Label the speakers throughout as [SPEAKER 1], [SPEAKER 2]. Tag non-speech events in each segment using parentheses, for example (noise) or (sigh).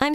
[SPEAKER 1] I'm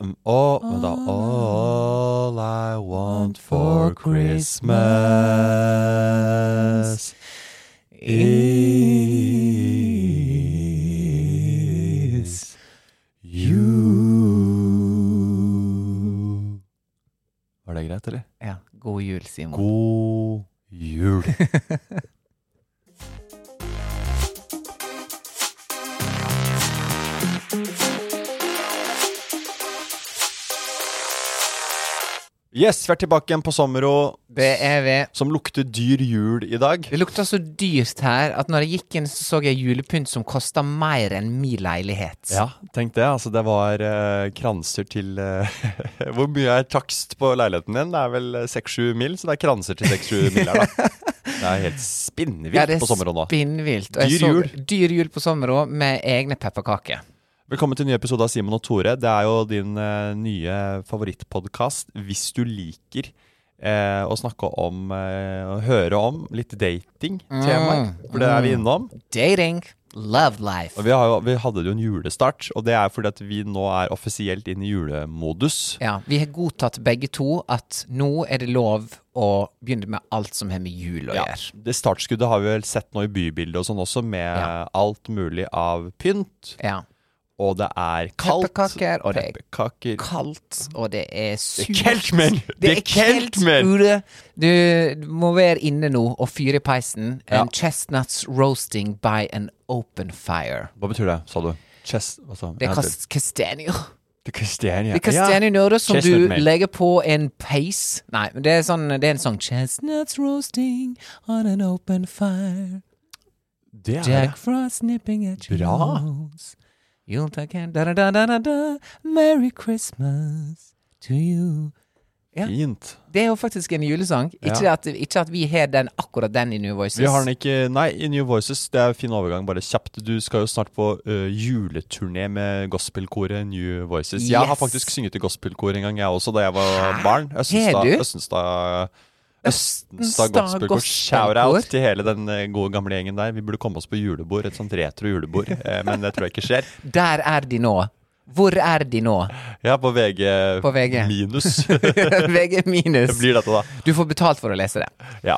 [SPEAKER 2] Um, all, men da, all I want for Christmas is you. Var det greit, eller?
[SPEAKER 3] Ja, god jul, Simon.
[SPEAKER 2] God jul. Yes, vi er tilbake igjen på sommer og
[SPEAKER 3] Det er vi.
[SPEAKER 2] som lukter dyr jul i dag.
[SPEAKER 3] Det lukta så dyrt her at når jeg gikk inn, så så jeg julepynt som kosta mer enn min leilighet.
[SPEAKER 2] Ja, tenk det. Altså, det var eh, kranser til eh, (laughs) Hvor mye er takst på leiligheten din? Det er vel eh, 6-7 mil, så det er kranser til 6-7 mil her, (laughs) da. Det er helt spinnvilt
[SPEAKER 3] Ja, det
[SPEAKER 2] på sommeren nå.
[SPEAKER 3] spinnvilt. Og jeg
[SPEAKER 2] Dyr
[SPEAKER 3] så-
[SPEAKER 2] jul.
[SPEAKER 3] Dyr jul på sommer òg, med egne pepperkaker.
[SPEAKER 2] Velkommen til en ny episode av Simon og Tore. Det er jo din eh, nye favorittpodkast hvis du liker eh, å snakke om eh, Å høre om litt dating-temaer.
[SPEAKER 3] Mm,
[SPEAKER 2] For det er vi
[SPEAKER 3] mm.
[SPEAKER 2] innom.
[SPEAKER 3] Dating. Love life.
[SPEAKER 2] Og vi, har, jo- vi hadde jo en julestart, og det er fordi at vi nå er offisielt inne i julemodus.
[SPEAKER 3] Ja, Vi har godtatt begge to at nå er det lov å begynne med alt som har med jul å
[SPEAKER 2] Ja,
[SPEAKER 3] gjøre.
[SPEAKER 2] det Startskuddet har vi vel sett nå i bybildet og sånn også, med
[SPEAKER 3] Ja.
[SPEAKER 2] alt mulig av pynt.
[SPEAKER 3] Ja.
[SPEAKER 2] Og det er kaldt.
[SPEAKER 3] Pepperkaker, og det er
[SPEAKER 2] Pepperkaker.
[SPEAKER 3] Kaldt, og det er surt.
[SPEAKER 2] keltmenn. Det er keltmenn.
[SPEAKER 3] ute. Du, du må være inne nå og fyre i peisen.
[SPEAKER 2] Ja.
[SPEAKER 3] And chestnuts roasting by an open fire.
[SPEAKER 2] Hva betyr det, sa du? Chest, altså,
[SPEAKER 3] Det er kas- kastanjer.
[SPEAKER 2] Det er kastanjer.
[SPEAKER 3] Det er kastanjenører som du
[SPEAKER 2] Chestnut milk.
[SPEAKER 3] legger på en peis. Nei, men det er, sånn, det er en sånn Chestnuts roasting on an open fire.
[SPEAKER 2] Det er
[SPEAKER 3] Jack
[SPEAKER 2] det.
[SPEAKER 3] Frost nipping at your
[SPEAKER 2] Bra.
[SPEAKER 3] nose. You'll take a da da da da da da. Merry Christmas to you. Ja.
[SPEAKER 2] Fint.
[SPEAKER 3] Det er jo faktisk en julesang. Ikke,
[SPEAKER 2] Ja.
[SPEAKER 3] at, ikke at vi har den akkurat den i New Voices.
[SPEAKER 2] Vi har den ikke Nei, i New Voices. Det er fin overgang, bare kjapt. Du skal jo snart på ø, juleturné med gospelkoret New Voices. Jeg har
[SPEAKER 3] Yes.
[SPEAKER 2] faktisk synget i gospelkor en gang, jeg også, da jeg var barn.
[SPEAKER 3] Har
[SPEAKER 2] Østenstad
[SPEAKER 3] du?
[SPEAKER 2] Østenstad Østenstad
[SPEAKER 3] Østenstad
[SPEAKER 2] gospelkor.
[SPEAKER 3] Gospelkor.
[SPEAKER 2] Shout-out til hele den ø, gode gamle gjengen der. Vi burde komme oss på julebord, et sånt retro julebord, eh, men det tror jeg ikke skjer.
[SPEAKER 3] Der er de nå. Hvor er de nå?
[SPEAKER 2] (laughs) Ja, på VG,
[SPEAKER 3] På VG.
[SPEAKER 2] minus.
[SPEAKER 3] (laughs)
[SPEAKER 2] det
[SPEAKER 3] VG minus.
[SPEAKER 2] blir dette, da.
[SPEAKER 3] Du får betalt for å lese det.
[SPEAKER 2] Ja.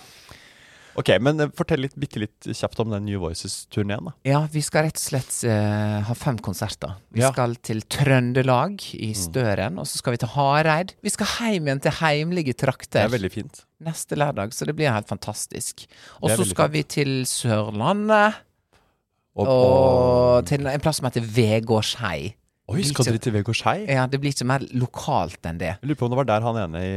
[SPEAKER 2] Ok, men eh, fortell litt, bitte litt kjapt om den New Voices-turneen, da.
[SPEAKER 3] Ja, vi skal rett og slett eh, ha fem konserter. Vi
[SPEAKER 2] Ja. Mm.
[SPEAKER 3] skal til Trøndelag i Støren, og så skal vi til Hareid. Vi skal hjem igjen til heimlige
[SPEAKER 2] Det
[SPEAKER 3] trakter
[SPEAKER 2] er veldig fint.
[SPEAKER 3] neste lørdag, så det blir helt fantastisk. Og
[SPEAKER 2] Det er
[SPEAKER 3] så
[SPEAKER 2] veldig
[SPEAKER 3] skal
[SPEAKER 2] fint.
[SPEAKER 3] vi til Sørlandet,
[SPEAKER 2] Og,
[SPEAKER 3] og til en plass som heter Vegårshei.
[SPEAKER 2] Oi, skal dere til Vegårshei?
[SPEAKER 3] Ja, det blir ikke mer lokalt enn det.
[SPEAKER 2] Jeg lurer på om det var der han ene i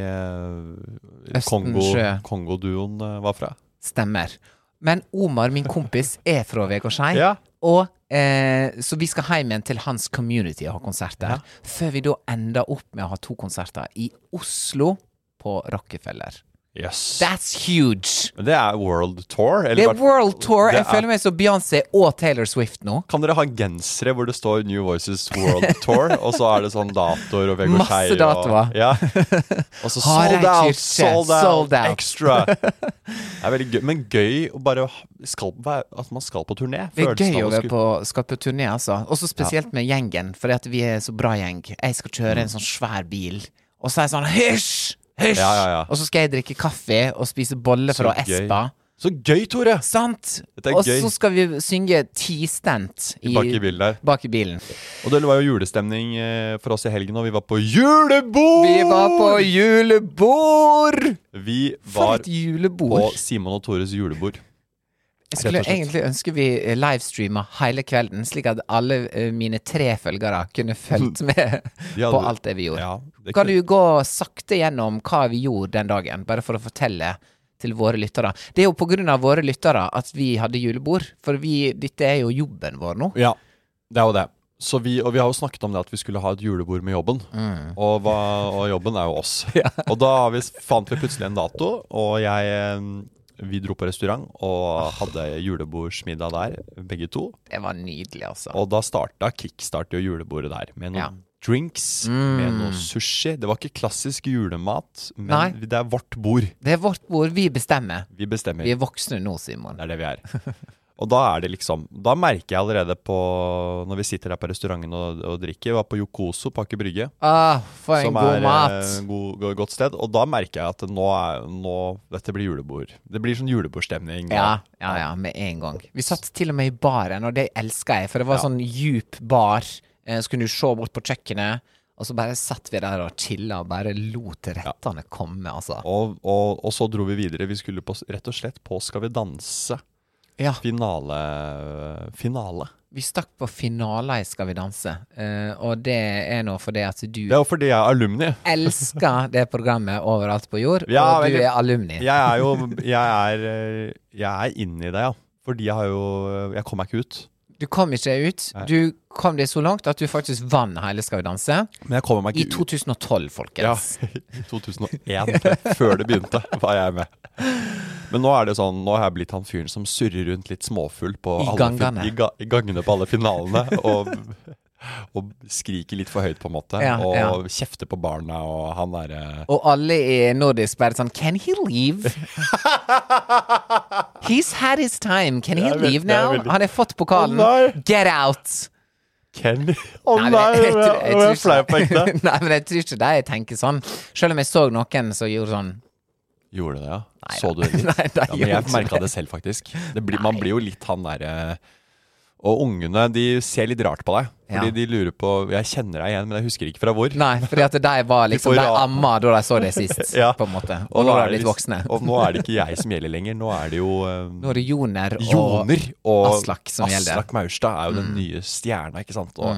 [SPEAKER 2] eh,
[SPEAKER 3] Østensjø.
[SPEAKER 2] Kongo, Kongo-duoen eh, var fra.
[SPEAKER 3] Stemmer. Men Omar, min kompis, er fra Vegårshei.
[SPEAKER 2] Ja.
[SPEAKER 3] Og, eh, så vi skal hjem igjen til hans community og ha konsert der. Før vi da ender opp med å ha to konserter i Oslo, på Rockefeller.
[SPEAKER 2] Yes.
[SPEAKER 3] That's huge!
[SPEAKER 2] Men det er World Tour? eller
[SPEAKER 3] Det er
[SPEAKER 2] hvert-
[SPEAKER 3] World Tour.
[SPEAKER 2] det
[SPEAKER 3] Jeg
[SPEAKER 2] er-
[SPEAKER 3] føler meg som Beyoncé og Taylor Swift nå.
[SPEAKER 2] Kan dere ha gensere hvor det står New Voices World Tour, og så er det sånn datoer og Vegårshei?
[SPEAKER 3] Masse datoer.
[SPEAKER 2] Og,
[SPEAKER 3] (laughs)
[SPEAKER 2] ja. og så
[SPEAKER 3] Har
[SPEAKER 2] sold
[SPEAKER 3] jeg
[SPEAKER 2] out,
[SPEAKER 3] kjørt det?
[SPEAKER 2] sold out,
[SPEAKER 3] Sold out. (laughs)
[SPEAKER 2] extra. Det er veldig gøy, men gøy å bare ha- skal, være- at man skal på turné.
[SPEAKER 3] Det er
[SPEAKER 2] Følelsen
[SPEAKER 3] gøy
[SPEAKER 2] av
[SPEAKER 3] å
[SPEAKER 2] å
[SPEAKER 3] være
[SPEAKER 2] skulle-
[SPEAKER 3] på, skal på turné, altså. Også spesielt med gjengen, fordi at vi er så bra gjeng. Jeg skal kjøre en sånn svær bil, og så er jeg sånn Hysj!
[SPEAKER 2] Mm.
[SPEAKER 3] Hysj!
[SPEAKER 2] Ja, ja, ja.
[SPEAKER 3] Og så skal jeg drikke kaffe og spise boller
[SPEAKER 2] Så
[SPEAKER 3] fra
[SPEAKER 2] gøy.
[SPEAKER 3] Espa.
[SPEAKER 2] Så gøy, Tore!
[SPEAKER 3] Sant?
[SPEAKER 2] Dette er
[SPEAKER 3] Og
[SPEAKER 2] gøy.
[SPEAKER 3] så skal vi synge ti stent i,
[SPEAKER 2] Bak i bilen der.
[SPEAKER 3] bak i bilen.
[SPEAKER 2] Og det var jo julestemning eh, for oss i helgen, og vi var på julebord!
[SPEAKER 3] Vi var på julebord!
[SPEAKER 2] Vi
[SPEAKER 3] For
[SPEAKER 2] var
[SPEAKER 3] et julebord.
[SPEAKER 2] på Simon og Tores julebord.
[SPEAKER 3] Jeg skulle
[SPEAKER 2] Rett og slett.
[SPEAKER 3] egentlig ønske vi eh, livestreama hele kvelden, slik at alle eh, mine tre følgere
[SPEAKER 2] (laughs)
[SPEAKER 3] kunne fulgt med
[SPEAKER 2] De hadde-
[SPEAKER 3] på alt det vi gjorde.
[SPEAKER 2] Ja, det
[SPEAKER 3] Kan
[SPEAKER 2] kunne-
[SPEAKER 3] du gå sakte gjennom hva vi gjorde den dagen, bare for å fortelle til våre lyttere? Det er jo på grunn av våre lyttere at vi hadde julebord, for vi, dette er jo jobben vår nå.
[SPEAKER 2] Ja, det er jo det. Så vi, og vi har jo snakket om det at vi skulle ha et julebord med jobben.
[SPEAKER 3] Mm.
[SPEAKER 2] Og, hva, og jobben er jo
[SPEAKER 3] (laughs)
[SPEAKER 2] oss. Og da har vi, fant vi plutselig en dato, og jeg eh, Vi dro på restaurant og hadde julebordsmiddag der, begge to.
[SPEAKER 3] Det var nydelig, altså.
[SPEAKER 2] Og da starta kickstart jo julebordet der, med noen
[SPEAKER 3] Ja. Mm.
[SPEAKER 2] drinks, med noe sushi. Det var ikke klassisk julemat, men
[SPEAKER 3] Nei.
[SPEAKER 2] det er vårt bord.
[SPEAKER 3] Det er vårt bord. Vi bestemmer.
[SPEAKER 2] Vi bestemmer.
[SPEAKER 3] Vi er voksne nå, Simon.
[SPEAKER 2] Det er det vi er. (laughs) Og da er det liksom Da merker jeg allerede på Når vi sitter der på restauranten og, og drikker. Jeg var på Yokoso på Aker Brygge,
[SPEAKER 3] Ah, for en
[SPEAKER 2] som
[SPEAKER 3] god
[SPEAKER 2] er
[SPEAKER 3] mat.
[SPEAKER 2] eh, god, go- godt sted. Og da merker jeg at nå er nå, Dette blir julebord. Det blir sånn julebordstemning.
[SPEAKER 3] Ja, ja, ja, med en gang. Vi satt til og med i baren, og det elska jeg, for det var sånn djup bar. eh, Så kunne du se bort på kjøkkenet, og så bare satt vi der og chilla og bare lot rettene komme, altså.
[SPEAKER 2] Og, og, og så dro vi videre. Vi skulle på, rett og slett på Skal vi danse.
[SPEAKER 3] Ja,
[SPEAKER 2] Finale. Finale.
[SPEAKER 3] vi stakk på finaler i Skal vi danse, eh, og det er nå fordi at du
[SPEAKER 2] Det er jo fordi jeg er alumni.
[SPEAKER 3] elsker
[SPEAKER 2] (laughs)
[SPEAKER 3] det programmet overalt på jord,
[SPEAKER 2] Ja,
[SPEAKER 3] og du
[SPEAKER 2] veldig.
[SPEAKER 3] er alumni.
[SPEAKER 2] Jeg er jo Jeg er, eh, jeg er inni det, ja. Fordi jeg har jo Jeg kom meg ikke ut.
[SPEAKER 3] Du kom ikke ut. Du kom deg så langt at du faktisk vant hele Skal vi danse.
[SPEAKER 2] Men jeg kommer meg
[SPEAKER 3] I
[SPEAKER 2] ikke ut.
[SPEAKER 3] 2012, folkens.
[SPEAKER 2] Ja, (laughs) i 2001, (laughs) før det begynte, var jeg med. Men nå er det sånn, nå har jeg blitt han fyren som surrer rundt litt småfull på
[SPEAKER 3] I
[SPEAKER 2] alle
[SPEAKER 3] gangene.
[SPEAKER 2] fin- i, ga, i gangene på alle finalene. Og, og skriker litt for høyt, på en måte.
[SPEAKER 3] Ja,
[SPEAKER 2] og
[SPEAKER 3] ja.
[SPEAKER 2] kjefter på barna, og han eh, derre
[SPEAKER 3] Og alle i nordisk bare sånn Can he
[SPEAKER 2] (laughs)
[SPEAKER 3] leave? He's had his time. Can he
[SPEAKER 2] Jeg vet,
[SPEAKER 3] leave
[SPEAKER 2] det er
[SPEAKER 3] now?
[SPEAKER 2] veldig-
[SPEAKER 3] Han har fått
[SPEAKER 2] Å
[SPEAKER 3] pokalen.
[SPEAKER 2] nei.
[SPEAKER 3] Get out!
[SPEAKER 2] Kenny Å
[SPEAKER 3] Nei, men
[SPEAKER 2] nei,
[SPEAKER 3] jeg-
[SPEAKER 2] jeg
[SPEAKER 3] jeg tror- jeg
[SPEAKER 2] ble flau
[SPEAKER 3] tror
[SPEAKER 2] på
[SPEAKER 3] ikke- (laughs)
[SPEAKER 2] ekte.
[SPEAKER 3] Nei, men jeg tror ikke de tenker sånn. Selv om jeg så noen som gjorde sånn.
[SPEAKER 2] Gjorde det, ja? Så du
[SPEAKER 3] (laughs)
[SPEAKER 2] det?
[SPEAKER 3] Nei, det
[SPEAKER 2] ja, men
[SPEAKER 3] gjorde
[SPEAKER 2] jeg
[SPEAKER 3] ikke
[SPEAKER 2] merka det selv, faktisk. Det blir, man blir jo litt han derre Og ungene, de ser litt rart på deg. Fordi
[SPEAKER 3] Ja.
[SPEAKER 2] de lurer på Jeg kjenner deg igjen, men jeg husker ikke fra hvor.
[SPEAKER 3] Nei, fordi at de var liksom
[SPEAKER 2] får
[SPEAKER 3] De
[SPEAKER 2] ra-
[SPEAKER 3] amma da de
[SPEAKER 2] (laughs)
[SPEAKER 3] så det sist,
[SPEAKER 2] Ja.
[SPEAKER 3] på en måte. Og nå har de
[SPEAKER 2] det
[SPEAKER 3] blitt
[SPEAKER 2] liksom-
[SPEAKER 3] voksne.
[SPEAKER 2] Og nå er det ikke jeg som gjelder lenger. Nå er det jo eh,
[SPEAKER 3] Nå er det Joner og
[SPEAKER 2] Joner og
[SPEAKER 3] Aslak som gjelder. Mm.
[SPEAKER 2] Aslak Maurstad er jo den nye stjerna, ikke sant. Og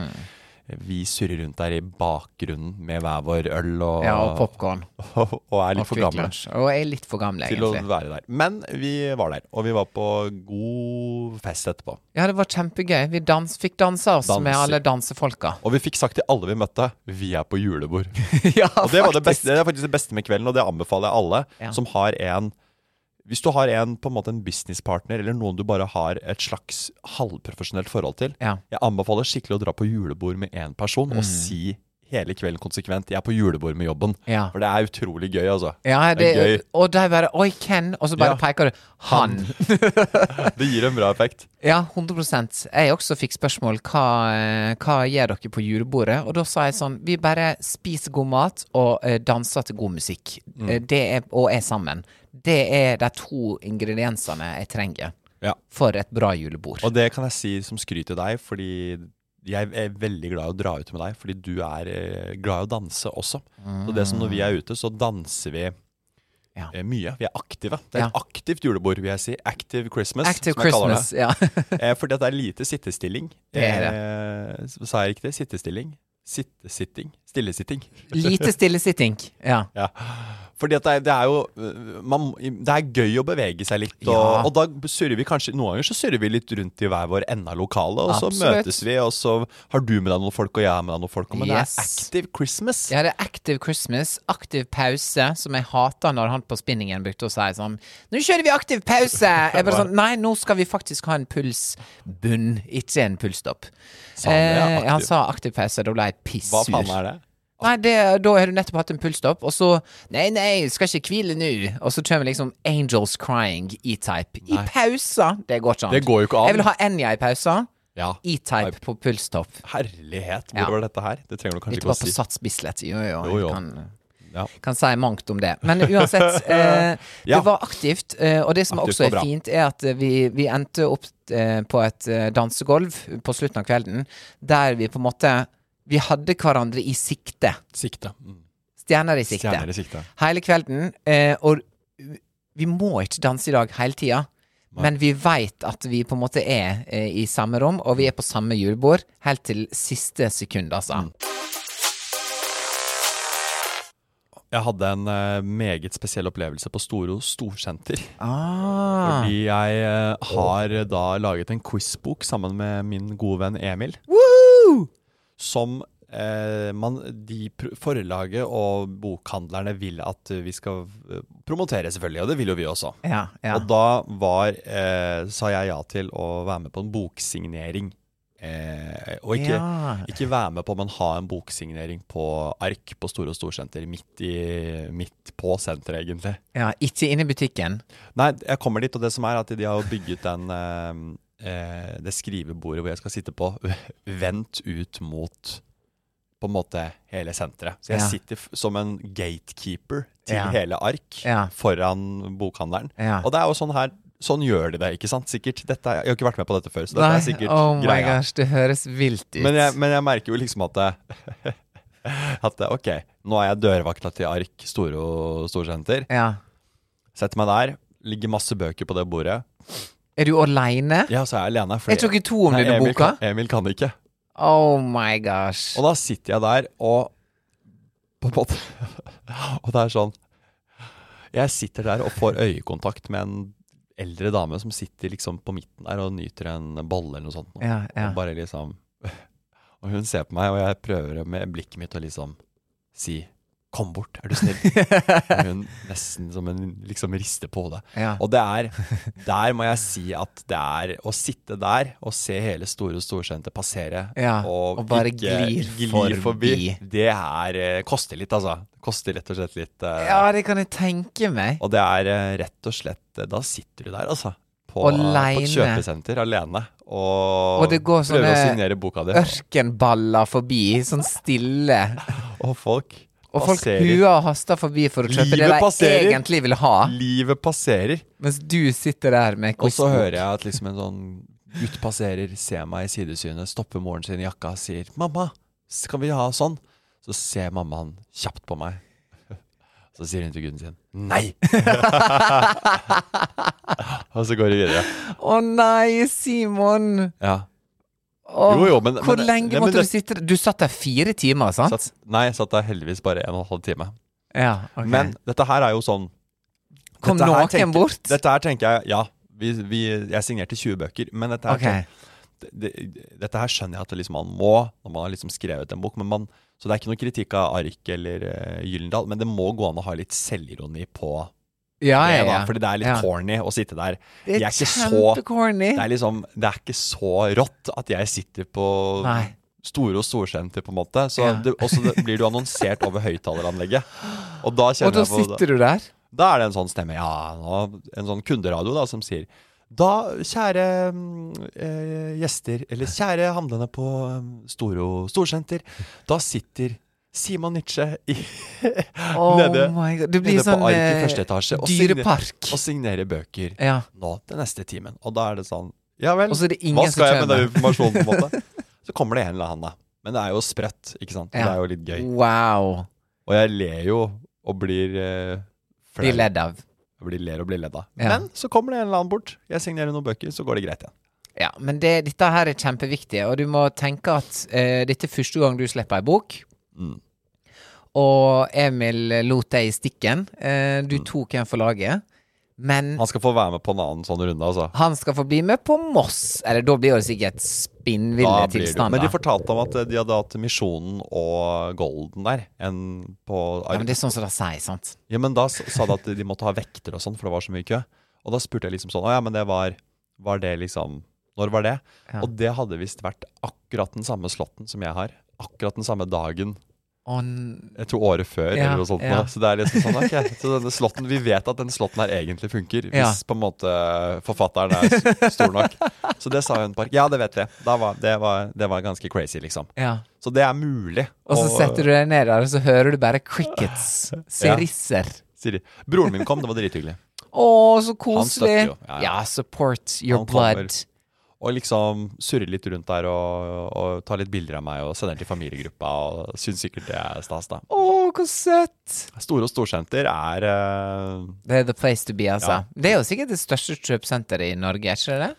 [SPEAKER 2] vi surrer rundt der i bakgrunnen med hver vår øl og,
[SPEAKER 3] Ja, og popkorn.
[SPEAKER 2] (laughs) og, er litt
[SPEAKER 3] Og
[SPEAKER 2] for
[SPEAKER 3] Quick
[SPEAKER 2] gamle
[SPEAKER 3] Lunch. Og jeg er litt for gammel,
[SPEAKER 2] til å
[SPEAKER 3] egentlig.
[SPEAKER 2] være der. Men vi var der, og vi var på god fest etterpå.
[SPEAKER 3] Ja, det var kjempegøy. Vi dans, fikk dansa oss med
[SPEAKER 2] Danser.
[SPEAKER 3] alle dansefolka. (laughs)
[SPEAKER 2] Og vi fikk sagt til alle vi møtte, vi er på julebord.
[SPEAKER 3] ja,
[SPEAKER 2] Og det, var det,
[SPEAKER 3] faktisk.
[SPEAKER 2] beste, det er faktisk det beste med kvelden, og det anbefaler jeg alle
[SPEAKER 3] Ja.
[SPEAKER 2] som har en Hvis du har en på en måte en businesspartner eller noen du bare har et slags halvprofesjonelt forhold til
[SPEAKER 3] Ja. Mm.
[SPEAKER 2] Jeg anbefaler skikkelig å dra på julebord med én person og si hele kvelden konsekvent 'jeg er på julebord med jobben'.
[SPEAKER 3] Ja.
[SPEAKER 2] For det er utrolig gøy, altså.
[SPEAKER 3] Ja,
[SPEAKER 2] det
[SPEAKER 3] det,
[SPEAKER 2] er gøy.
[SPEAKER 3] og de bare Oi, Ken! Og så
[SPEAKER 2] Ja.
[SPEAKER 3] bare peker du. Han!
[SPEAKER 2] Det gir en bra effekt.
[SPEAKER 3] Ja, 100 Jeg også fikk spørsmål hva, eh, hva gjør dere på julebordet. Og da sa jeg sånn Vi bare spiser god mat og eh, danser til god musikk.
[SPEAKER 2] Mm.
[SPEAKER 3] Eh, det er, og er sammen. Det er de to ingrediensene jeg trenger
[SPEAKER 2] Ja.
[SPEAKER 3] for et bra julebord.
[SPEAKER 2] Og det kan jeg si som skryt til deg, fordi jeg er veldig glad i å dra ut med deg, fordi du er eh, glad i å danse også. Så det som når vi er ute, så danser vi
[SPEAKER 3] Ja.
[SPEAKER 2] eh, mye. Vi er aktive. Det er
[SPEAKER 3] Ja.
[SPEAKER 2] et aktivt julebord, vil jeg si. Active Christmas,
[SPEAKER 3] Active
[SPEAKER 2] som jeg kaller
[SPEAKER 3] Christmas. Ja. (laughs)
[SPEAKER 2] det. Eh, fordi at det er lite sittestilling.
[SPEAKER 3] Det er
[SPEAKER 2] Eh, sa jeg riktig? Sittestilling? Sittesitting? Stillesitting.
[SPEAKER 3] Lite stillesitting. Ja.
[SPEAKER 2] Ja. Fordi at det er, det er jo øh, man, Det er gøy å bevege seg litt, og,
[SPEAKER 3] Ja.
[SPEAKER 2] og da surrer vi kanskje Noen ganger så surrer vi litt rundt i hver vår ende av lokalet, og så
[SPEAKER 3] Absolutt.
[SPEAKER 2] møtes vi, og så har du med deg noen folk, og jeg har med deg noen folk, og- men
[SPEAKER 3] Yes.
[SPEAKER 2] det er active Christmas.
[SPEAKER 3] Jeg hadde Active Christmas, aktiv pause, som jeg hata når han på spinningen brukte å si sånn Nå kjører vi aktiv pause! Jeg bare sånn Nei, nå skal vi faktisk ha en pulsbunn, ikke en pulsstopp.
[SPEAKER 2] Sa han det,
[SPEAKER 3] Eh,
[SPEAKER 2] aktiv?
[SPEAKER 3] han sa aktiv pause, da ble jeg pissur.
[SPEAKER 2] Hva faen er det?
[SPEAKER 3] Nei, det, da har du nettopp hatt en pulsstopp, og så Nei, nei, skal ikke hvile nå. Og så kommer liksom Angels Crying, E-Type. I pausa! Det går ikke an.
[SPEAKER 2] Det går jo ikke an.
[SPEAKER 3] Jeg vil ha Enja i pausa,
[SPEAKER 2] Ja.
[SPEAKER 3] E-Type på pulsstopp.
[SPEAKER 2] Herlighet, hvor
[SPEAKER 3] Ja.
[SPEAKER 2] var dette her? Det trenger du kanskje
[SPEAKER 3] Dette
[SPEAKER 2] ikke
[SPEAKER 3] var
[SPEAKER 2] å
[SPEAKER 3] på
[SPEAKER 2] si.
[SPEAKER 3] Sats Bislett. Jo, jo.
[SPEAKER 2] Jo, jo.
[SPEAKER 3] jeg Kan,
[SPEAKER 2] Ja.
[SPEAKER 3] kan si mangt om det.
[SPEAKER 2] (laughs)
[SPEAKER 3] Men uansett, eh,
[SPEAKER 2] Ja.
[SPEAKER 3] det var aktivt. Eh, og det som
[SPEAKER 2] Aktivt
[SPEAKER 3] også
[SPEAKER 2] og bra.
[SPEAKER 3] er fint, er at eh, vi, vi endte opp eh, på et eh, dansegolv på slutten av kvelden, der vi på en måte Vi hadde hverandre i sikte.
[SPEAKER 2] Sikte. Mm.
[SPEAKER 3] Stjerner i sikte.
[SPEAKER 2] Stjerner i sikte.
[SPEAKER 3] Hele kvelden. Eh, og vi må ikke danse i dag hele tida. Men vi veit at vi på en måte er eh, i samme rom, og vi er på samme julebord helt til siste sekund, altså.
[SPEAKER 2] Mm. Jeg hadde en eh, meget spesiell opplevelse på Storo storsenter.
[SPEAKER 3] Ah.
[SPEAKER 2] Fordi eh, jeg eh, har da laget en quizbok sammen med min gode venn Emil. som eh, man, de pr- forlaget og bokhandlerne vil at vi skal eh, promotere, selvfølgelig. Og det vil jo vi også.
[SPEAKER 3] Ja, ja.
[SPEAKER 2] Og da var, eh, sa jeg ja til å være med på en boksignering. Eh, og ikke,
[SPEAKER 3] Ja.
[SPEAKER 2] ikke være med på, men ha en boksignering på ark på Store og Storsenter. Midt, i, midt på senteret, egentlig.
[SPEAKER 3] ja, ikke inne i butikken.
[SPEAKER 2] Nei, jeg kommer dit, og det som er at de har jo bygget den eh, eh, det skrivebordet hvor jeg skal sitte på, (laughs) vendt ut mot på en måte hele senteret. Så jeg
[SPEAKER 3] Ja.
[SPEAKER 2] sitter f som en gatekeeper til
[SPEAKER 3] Ja.
[SPEAKER 2] hele ark
[SPEAKER 3] Ja.
[SPEAKER 2] foran bokhandleren.
[SPEAKER 3] Ja.
[SPEAKER 2] Og det er jo sånn her Sånn gjør de det, ikke sant? Sikkert. Dette er, jeg har ikke vært med på dette før, så dette
[SPEAKER 3] Nei,
[SPEAKER 2] er sikkert
[SPEAKER 3] oh my
[SPEAKER 2] greia.
[SPEAKER 3] gosh, det høres vilt ut.
[SPEAKER 2] Men jeg, men jeg merker jo liksom at (laughs) det, At det, ok, nå er jeg dørvakta til Ark Storo Storsenter.
[SPEAKER 3] ja.
[SPEAKER 2] Setter meg der. Ligger masse bøker på det bordet.
[SPEAKER 3] Er du aleine?
[SPEAKER 2] Ja, så er jeg alene. fordi-
[SPEAKER 3] Jeg tok ikke to om
[SPEAKER 2] Nei,
[SPEAKER 3] denne
[SPEAKER 2] Emil,
[SPEAKER 3] boka.
[SPEAKER 2] kan- Emil kan ikke.
[SPEAKER 3] Oh my gosh.
[SPEAKER 2] Og da sitter jeg der og På en måte (laughs) Og det er sånn Jeg sitter der og får øyekontakt med en eldre dame som sitter liksom på midten der og nyter en bolle eller noe sånt. nå.
[SPEAKER 3] Ja, ja.
[SPEAKER 2] Og bare liksom (laughs) Og hun ser på meg, og jeg prøver med blikket mitt å liksom si Kom bort, er du
[SPEAKER 3] (laughs)
[SPEAKER 2] snill? Og hun nesten som en liksom rister på hodet.
[SPEAKER 3] Ja.
[SPEAKER 2] Og det er, der må jeg si at det er å sitte der og se hele Store Storsenter passere
[SPEAKER 3] Ja, og bare glir forbi.
[SPEAKER 2] det er eh, koster litt, altså. Det koster rett og slett litt. eh,
[SPEAKER 3] Ja, det kan jeg tenke meg.
[SPEAKER 2] Og det er eh, rett og slett eh, Da sitter du der, altså. På,
[SPEAKER 3] Alene.
[SPEAKER 2] på et kjøpesenter alene. Og,
[SPEAKER 3] Og det går
[SPEAKER 2] prøver å
[SPEAKER 3] sånne
[SPEAKER 2] signere boka di.
[SPEAKER 3] Ørkenballer forbi, sånn stille.
[SPEAKER 2] (laughs) Og folk
[SPEAKER 3] Og folk
[SPEAKER 2] passerer.
[SPEAKER 3] huer og haster forbi for å kjøpe
[SPEAKER 2] Livet
[SPEAKER 3] det de
[SPEAKER 2] passerer.
[SPEAKER 3] egentlig vil ha,
[SPEAKER 2] Livet passerer.
[SPEAKER 3] mens du sitter der med
[SPEAKER 2] Og så
[SPEAKER 3] quizbok.
[SPEAKER 2] hører jeg at liksom en sånn gutt passerer, ser meg i sidesynet, stopper moren sin i jakka og sier 'Mamma, skal vi ha sånn?' Så ser mammaen kjapt på meg. (laughs) Så sier hun til gutten sin 'Nei!' og så går de videre.
[SPEAKER 3] (laughs) Å nei, Simon!
[SPEAKER 2] Ja.
[SPEAKER 3] Åh,
[SPEAKER 2] Jo, jo, men-
[SPEAKER 3] hvor
[SPEAKER 2] men-
[SPEAKER 3] lenge
[SPEAKER 2] nei, men
[SPEAKER 3] måtte
[SPEAKER 2] det-
[SPEAKER 3] du sitte der? Du satt der fire timer, sant?
[SPEAKER 2] Satt, nei, jeg satt der heldigvis bare en og en halv time.
[SPEAKER 3] ja, ok.
[SPEAKER 2] Men dette her er jo sånn
[SPEAKER 3] Kom
[SPEAKER 2] dette her
[SPEAKER 3] noen bort?
[SPEAKER 2] Dette her tenker jeg Ja, vi, vi, jeg signerte 20 bøker, men dette her
[SPEAKER 3] Ok.
[SPEAKER 2] tenker- det, det- dette her skjønner jeg at det liksom man må når man har liksom skrevet en bok. Men man, så det er ikke noe kritikk av Ark eller uh, Gyllendal, men det må gå an å ha litt selvironi på
[SPEAKER 3] Ja,
[SPEAKER 2] det.
[SPEAKER 3] ja,
[SPEAKER 2] da,
[SPEAKER 3] ja.
[SPEAKER 2] fordi det er litt
[SPEAKER 3] ja.
[SPEAKER 2] corny å sitte der. Jeg
[SPEAKER 3] Det er
[SPEAKER 2] er ikke så-
[SPEAKER 3] kjempecorny.
[SPEAKER 2] Det er liksom Det er ikke så rått at jeg sitter på
[SPEAKER 3] Nei.
[SPEAKER 2] Store og storsenter, på en måte. Så
[SPEAKER 3] Ja.
[SPEAKER 2] det, og så det- blir du annonsert over høyttaleranlegget. Og da
[SPEAKER 3] Og
[SPEAKER 2] kjenner
[SPEAKER 3] da
[SPEAKER 2] jeg på
[SPEAKER 3] sitter du der.
[SPEAKER 2] da er det en sånn stemme, ja, nå, en sånn kunderadio da, som sier da, kjære mm, eh, gjester, eller kjære handlende på mm, Storo Storsenter, da sitter Simon Nietzsche i, (laughs)
[SPEAKER 3] Oh
[SPEAKER 2] nede,
[SPEAKER 3] my god. Det blir
[SPEAKER 2] nede
[SPEAKER 3] sånn
[SPEAKER 2] på arket i
[SPEAKER 3] eh,
[SPEAKER 2] første etasje og,
[SPEAKER 3] dyrepark.
[SPEAKER 2] signer, og signerer bøker
[SPEAKER 3] Ja.
[SPEAKER 2] nå til neste timen. Og da er det sånn, ja vel,
[SPEAKER 3] Og så er det
[SPEAKER 2] hva
[SPEAKER 3] ingen som
[SPEAKER 2] skal jeg med den
[SPEAKER 3] kommer.
[SPEAKER 2] informasjonen på en
[SPEAKER 3] (laughs)
[SPEAKER 2] måte? Så kommer det en eller annen da. Men det er jo sprøtt, ikke sant?
[SPEAKER 3] Ja.
[SPEAKER 2] Det er jo litt gøy.
[SPEAKER 3] Wow.
[SPEAKER 2] Og jeg ler jo og blir eh, flau.
[SPEAKER 3] Blir ledd av.
[SPEAKER 2] Jeg blir ler og blir ledd av.
[SPEAKER 3] Ja.
[SPEAKER 2] Men så kommer det en eller annen bort. Jeg signerer noen bøker, så går det greit igjen.
[SPEAKER 3] Ja, men det, dette her er kjempeviktig, og du må tenke at eh, dette er første gang du slipper ei bok.
[SPEAKER 2] Mm.
[SPEAKER 3] Og Emil lot deg i stikken. Eh, du tok en for laget. Men
[SPEAKER 2] Mm. Han skal få være med på en annen sånn runde, altså.
[SPEAKER 3] han skal få bli med på Moss. Eller da blir det sikkert spinnville
[SPEAKER 2] Da blir det- Men
[SPEAKER 3] tilstander.
[SPEAKER 2] de fortalte om at eh, de hadde hatt Misjonen og Golden der. En på
[SPEAKER 3] Ja,
[SPEAKER 2] ark.
[SPEAKER 3] men det er sånn som de sier, sant?
[SPEAKER 2] Ja, men da s- sa de at de måtte ha vekter og sånn, for det var så mye kø. Og da spurte jeg liksom sånn, å ja, men det var, var det liksom, når var det? Og det hadde visst vært akkurat den samme slotten som jeg har. Akkurat den samme dagen,
[SPEAKER 3] Å, n-
[SPEAKER 2] jeg tror året før,
[SPEAKER 3] Ja,
[SPEAKER 2] eller noe sånt.
[SPEAKER 3] ja.
[SPEAKER 2] nå. Så det er liksom sånn, ok. Så denne slotten, vi vet at den slotten her egentlig funker, hvis
[SPEAKER 3] Ja.
[SPEAKER 2] på en måte forfatteren er s- stor nok. Så det sa hun Park. Ja, det vet vi. Da var, det, var, det var ganske crazy, liksom.
[SPEAKER 3] ja.
[SPEAKER 2] Så det er mulig.
[SPEAKER 3] Og så setter du deg ned der, og så hører du bare crickets.
[SPEAKER 2] Ja.
[SPEAKER 3] Sirisser.
[SPEAKER 2] Siri. Broren min kom, det var drithyggelig.
[SPEAKER 3] Å, så koselig.
[SPEAKER 2] støtter jo,
[SPEAKER 3] Ja,
[SPEAKER 2] ja, ja.
[SPEAKER 3] support your
[SPEAKER 2] Han kommer.
[SPEAKER 3] blood.
[SPEAKER 2] Og liksom surre litt rundt der og, og ta litt bilder av meg og sende den til familiegruppa. Og syns sikkert det er stas, da.
[SPEAKER 3] Å, hvor søtt.
[SPEAKER 2] Store og Storsenter er eh,
[SPEAKER 3] Det er the place to be, altså.
[SPEAKER 2] Ja.
[SPEAKER 3] Det er jo sikkert det største kjøpesenteret i Norge, er ikke det det?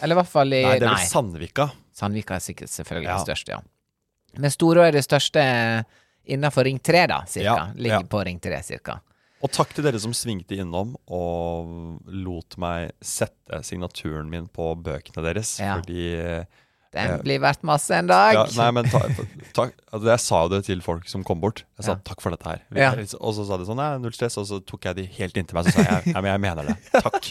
[SPEAKER 3] Eller i hvert fall i
[SPEAKER 2] Nei, det er
[SPEAKER 3] Eh, nei.
[SPEAKER 2] vel Sandvika.
[SPEAKER 3] Sandvika er sikkert selvfølgelig
[SPEAKER 2] Ja.
[SPEAKER 3] det største, ja. Men Storå er det største eh, innenfor Ring 3, da, cirka.
[SPEAKER 2] Ja,
[SPEAKER 3] Ligger
[SPEAKER 2] ja.
[SPEAKER 3] på Ring 3, cirka.
[SPEAKER 2] Og takk til dere som svingte innom og lot meg sette signaturen min på bøkene deres.
[SPEAKER 3] Ja.
[SPEAKER 2] Fordi
[SPEAKER 3] Den blir verdt masse en
[SPEAKER 2] Eh,
[SPEAKER 3] dag.
[SPEAKER 2] Ja, nei, men ta, takk- altså, jeg sa jo det til folk som kom bort. Jeg sa takk for dette her. Vi
[SPEAKER 3] Ja.
[SPEAKER 2] er litt- Og så sa de sånn nei, null stress, og så tok jeg de helt inntil meg. Så sa jeg nei, men jeg mener det. Takk.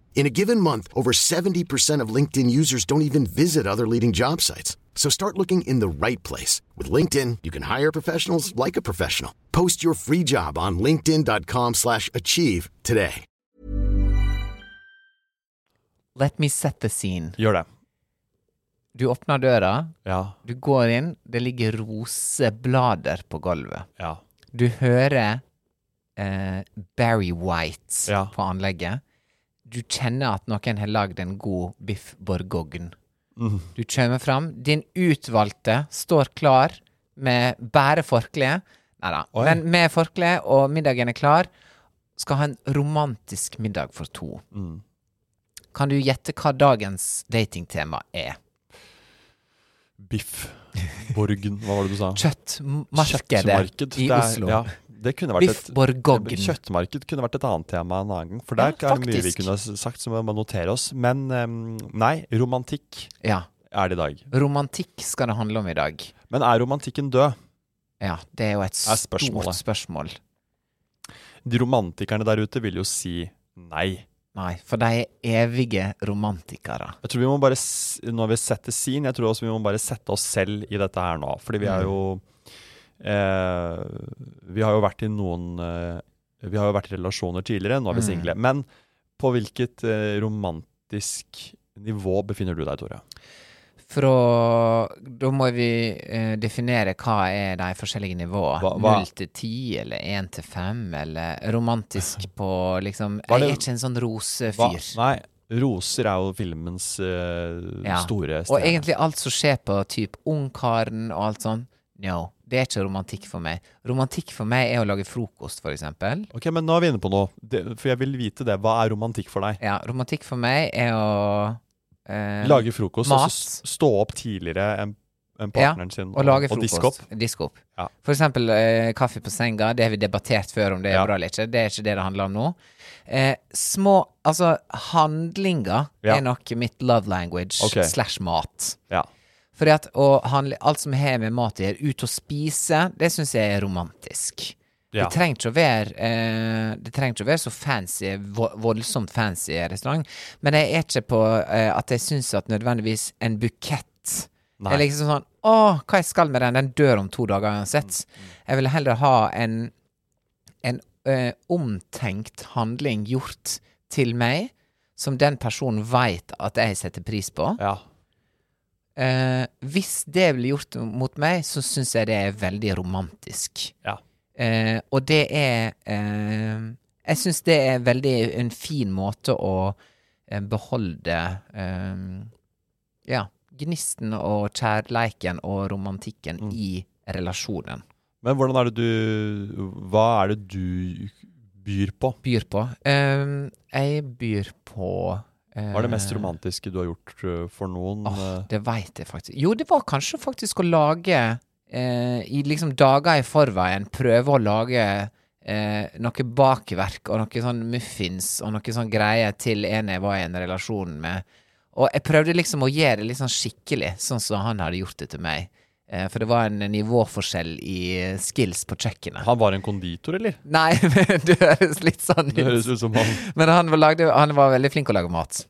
[SPEAKER 4] In a given month, over 70% of LinkedIn users don't even visit other leading job sites. So start looking in the right place. With LinkedIn, you can hire professionals like a professional. Post your free job on linkedin.com/achieve slash achieve today.
[SPEAKER 3] Let me set the scene.
[SPEAKER 2] Gjør det.
[SPEAKER 3] Du åpner døra,
[SPEAKER 2] Ja.
[SPEAKER 3] du går inn, det ligger roseblader på gulvet.
[SPEAKER 2] Ja.
[SPEAKER 3] Du hører eh, Barry White
[SPEAKER 2] Ja.
[SPEAKER 3] på anlegget. Du kjenner at noen har lagd en god biff bourgogne.
[SPEAKER 2] Mm.
[SPEAKER 3] Du kommer fram. Din utvalgte står klar med bare forkle. Nei da,
[SPEAKER 2] Oi.
[SPEAKER 3] men med forkle, og middagen er klar. Skal ha en romantisk middag for to.
[SPEAKER 2] Mm.
[SPEAKER 3] Kan du gjette hva dagens datingtema er?
[SPEAKER 2] Biff. Borgen, hva var det du sa?
[SPEAKER 3] Kjøttmarkedet i
[SPEAKER 2] Det er-
[SPEAKER 3] Oslo.
[SPEAKER 2] Ja, det kunne vært
[SPEAKER 3] Biff
[SPEAKER 2] et
[SPEAKER 3] Borgogne.
[SPEAKER 2] Kjøttmarked kunne vært et annet tema en annen gang. For
[SPEAKER 3] Ja,
[SPEAKER 2] der er det mye vi
[SPEAKER 3] faktisk.
[SPEAKER 2] kunne s- sagt som vi må notere oss. Men ehm, nei, romantikk
[SPEAKER 3] Ja.
[SPEAKER 2] er det i dag.
[SPEAKER 3] Romantikk skal det handle om i dag.
[SPEAKER 2] Men er romantikken død?
[SPEAKER 3] Ja, det er jo et
[SPEAKER 2] Er spørsmålet.
[SPEAKER 3] stort spørsmål.
[SPEAKER 2] De romantikerne der ute vil jo si nei.
[SPEAKER 3] Nei, for de er evige romantikere.
[SPEAKER 2] Jeg tror vi må bare, s- Når vi setter scene, jeg tror også vi må bare sette oss selv i dette her nå. Fordi vi
[SPEAKER 3] Mm.
[SPEAKER 2] er jo eh, Vi har jo vært i noen eh, Vi har jo vært i relasjoner tidligere,
[SPEAKER 3] Mm.
[SPEAKER 2] nå er vi single. Men på hvilket eh, romantisk nivå befinner du deg, Tore?
[SPEAKER 3] Fra Da må vi eh, definere hva er de forskjellige nivåene.
[SPEAKER 2] Hva- hva-
[SPEAKER 3] Null til ti, eller én til fem, eller romantisk på liksom
[SPEAKER 2] Hva er
[SPEAKER 3] Jeg
[SPEAKER 2] det-
[SPEAKER 3] er ikke en sånn
[SPEAKER 2] Hva-
[SPEAKER 3] rosefyr.
[SPEAKER 2] Nei, roser er jo filmens eh,
[SPEAKER 3] Ja.
[SPEAKER 2] store
[SPEAKER 3] Og
[SPEAKER 2] stjerne.
[SPEAKER 3] egentlig alt som skjer på typ Ungkaren og alt sånn, no. Det er ikke romantikk for meg. Romantikk for meg er å lage frokost, for eksempel.
[SPEAKER 2] Ok, men nå er vi inne på noe. Det, for jeg vil vite det. Hva er romantikk for deg?
[SPEAKER 3] Ja, romantikk for meg er å eh,
[SPEAKER 2] Lage frokost,
[SPEAKER 3] mat.
[SPEAKER 2] og så s- stå opp tidligere enn enn partneren sin
[SPEAKER 3] og lage
[SPEAKER 2] og diske
[SPEAKER 3] frokost.
[SPEAKER 2] opp.
[SPEAKER 3] Diske opp.
[SPEAKER 2] Ja.
[SPEAKER 3] For eksempel eh, kaffe på senga, det har vi debattert før om det er
[SPEAKER 2] Ja.
[SPEAKER 3] bra eller ikke. Det er ikke det det handler om nå. Eh, små Altså, handlinger
[SPEAKER 2] Ja.
[SPEAKER 3] er nok mitt love language
[SPEAKER 2] Ok.
[SPEAKER 3] slash mat.
[SPEAKER 2] Ja.
[SPEAKER 3] Fordi at å handle alt som har med mat å gjøre, ut og spise, det syns jeg er romantisk.
[SPEAKER 2] Ja.
[SPEAKER 3] Det trenger ikke å være eh, Det trenger ikke å være så fancy, vo- voldsomt fancy restaurant, men jeg er ikke på eh, at jeg syns at nødvendigvis en bukett
[SPEAKER 2] Nei.
[SPEAKER 3] er liksom sånn Å, hva jeg skal med den? Den dør om to dager
[SPEAKER 2] Mm,
[SPEAKER 3] uansett. Jeg vil heller ha en en eh, omtenkt handling gjort til meg, som den personen veit at jeg setter pris på.
[SPEAKER 2] Ja.
[SPEAKER 3] Eh, hvis det blir gjort mot meg, så syns jeg det er veldig romantisk.
[SPEAKER 2] Ja.
[SPEAKER 3] Eh, og det er eh, Jeg syns det er veldig en fin måte å eh, beholde eh, Ja, gnisten og kjærleiken og romantikken
[SPEAKER 2] Mm.
[SPEAKER 3] i relasjonen
[SPEAKER 2] Men hvordan er det du Hva er det du byr på?
[SPEAKER 3] byr på. Eh, jeg byr på eh,
[SPEAKER 2] Hva er det mest romantiske du har gjort øh, for noen?
[SPEAKER 3] Åh,
[SPEAKER 2] øh,
[SPEAKER 3] det veit jeg faktisk. Jo, det var kanskje faktisk å lage eh, I liksom dager i forveien prøve å lage eh, noe bakverk og noe sånn muffins og noe sånn greier til en jeg var i en relasjon med. Og jeg prøvde liksom å gjøre det litt sånn skikkelig, sånn som han hadde gjort det til meg. Eh, for det var en nivåforskjell i skills på kjøkkenet.
[SPEAKER 2] Eh, Han var en konditor, eller?
[SPEAKER 3] Nei, (laughs) men det høres litt sånn
[SPEAKER 2] Det høres
[SPEAKER 3] ut.
[SPEAKER 2] ut som han
[SPEAKER 3] Men han var, lagde, han var veldig flink å lage mat.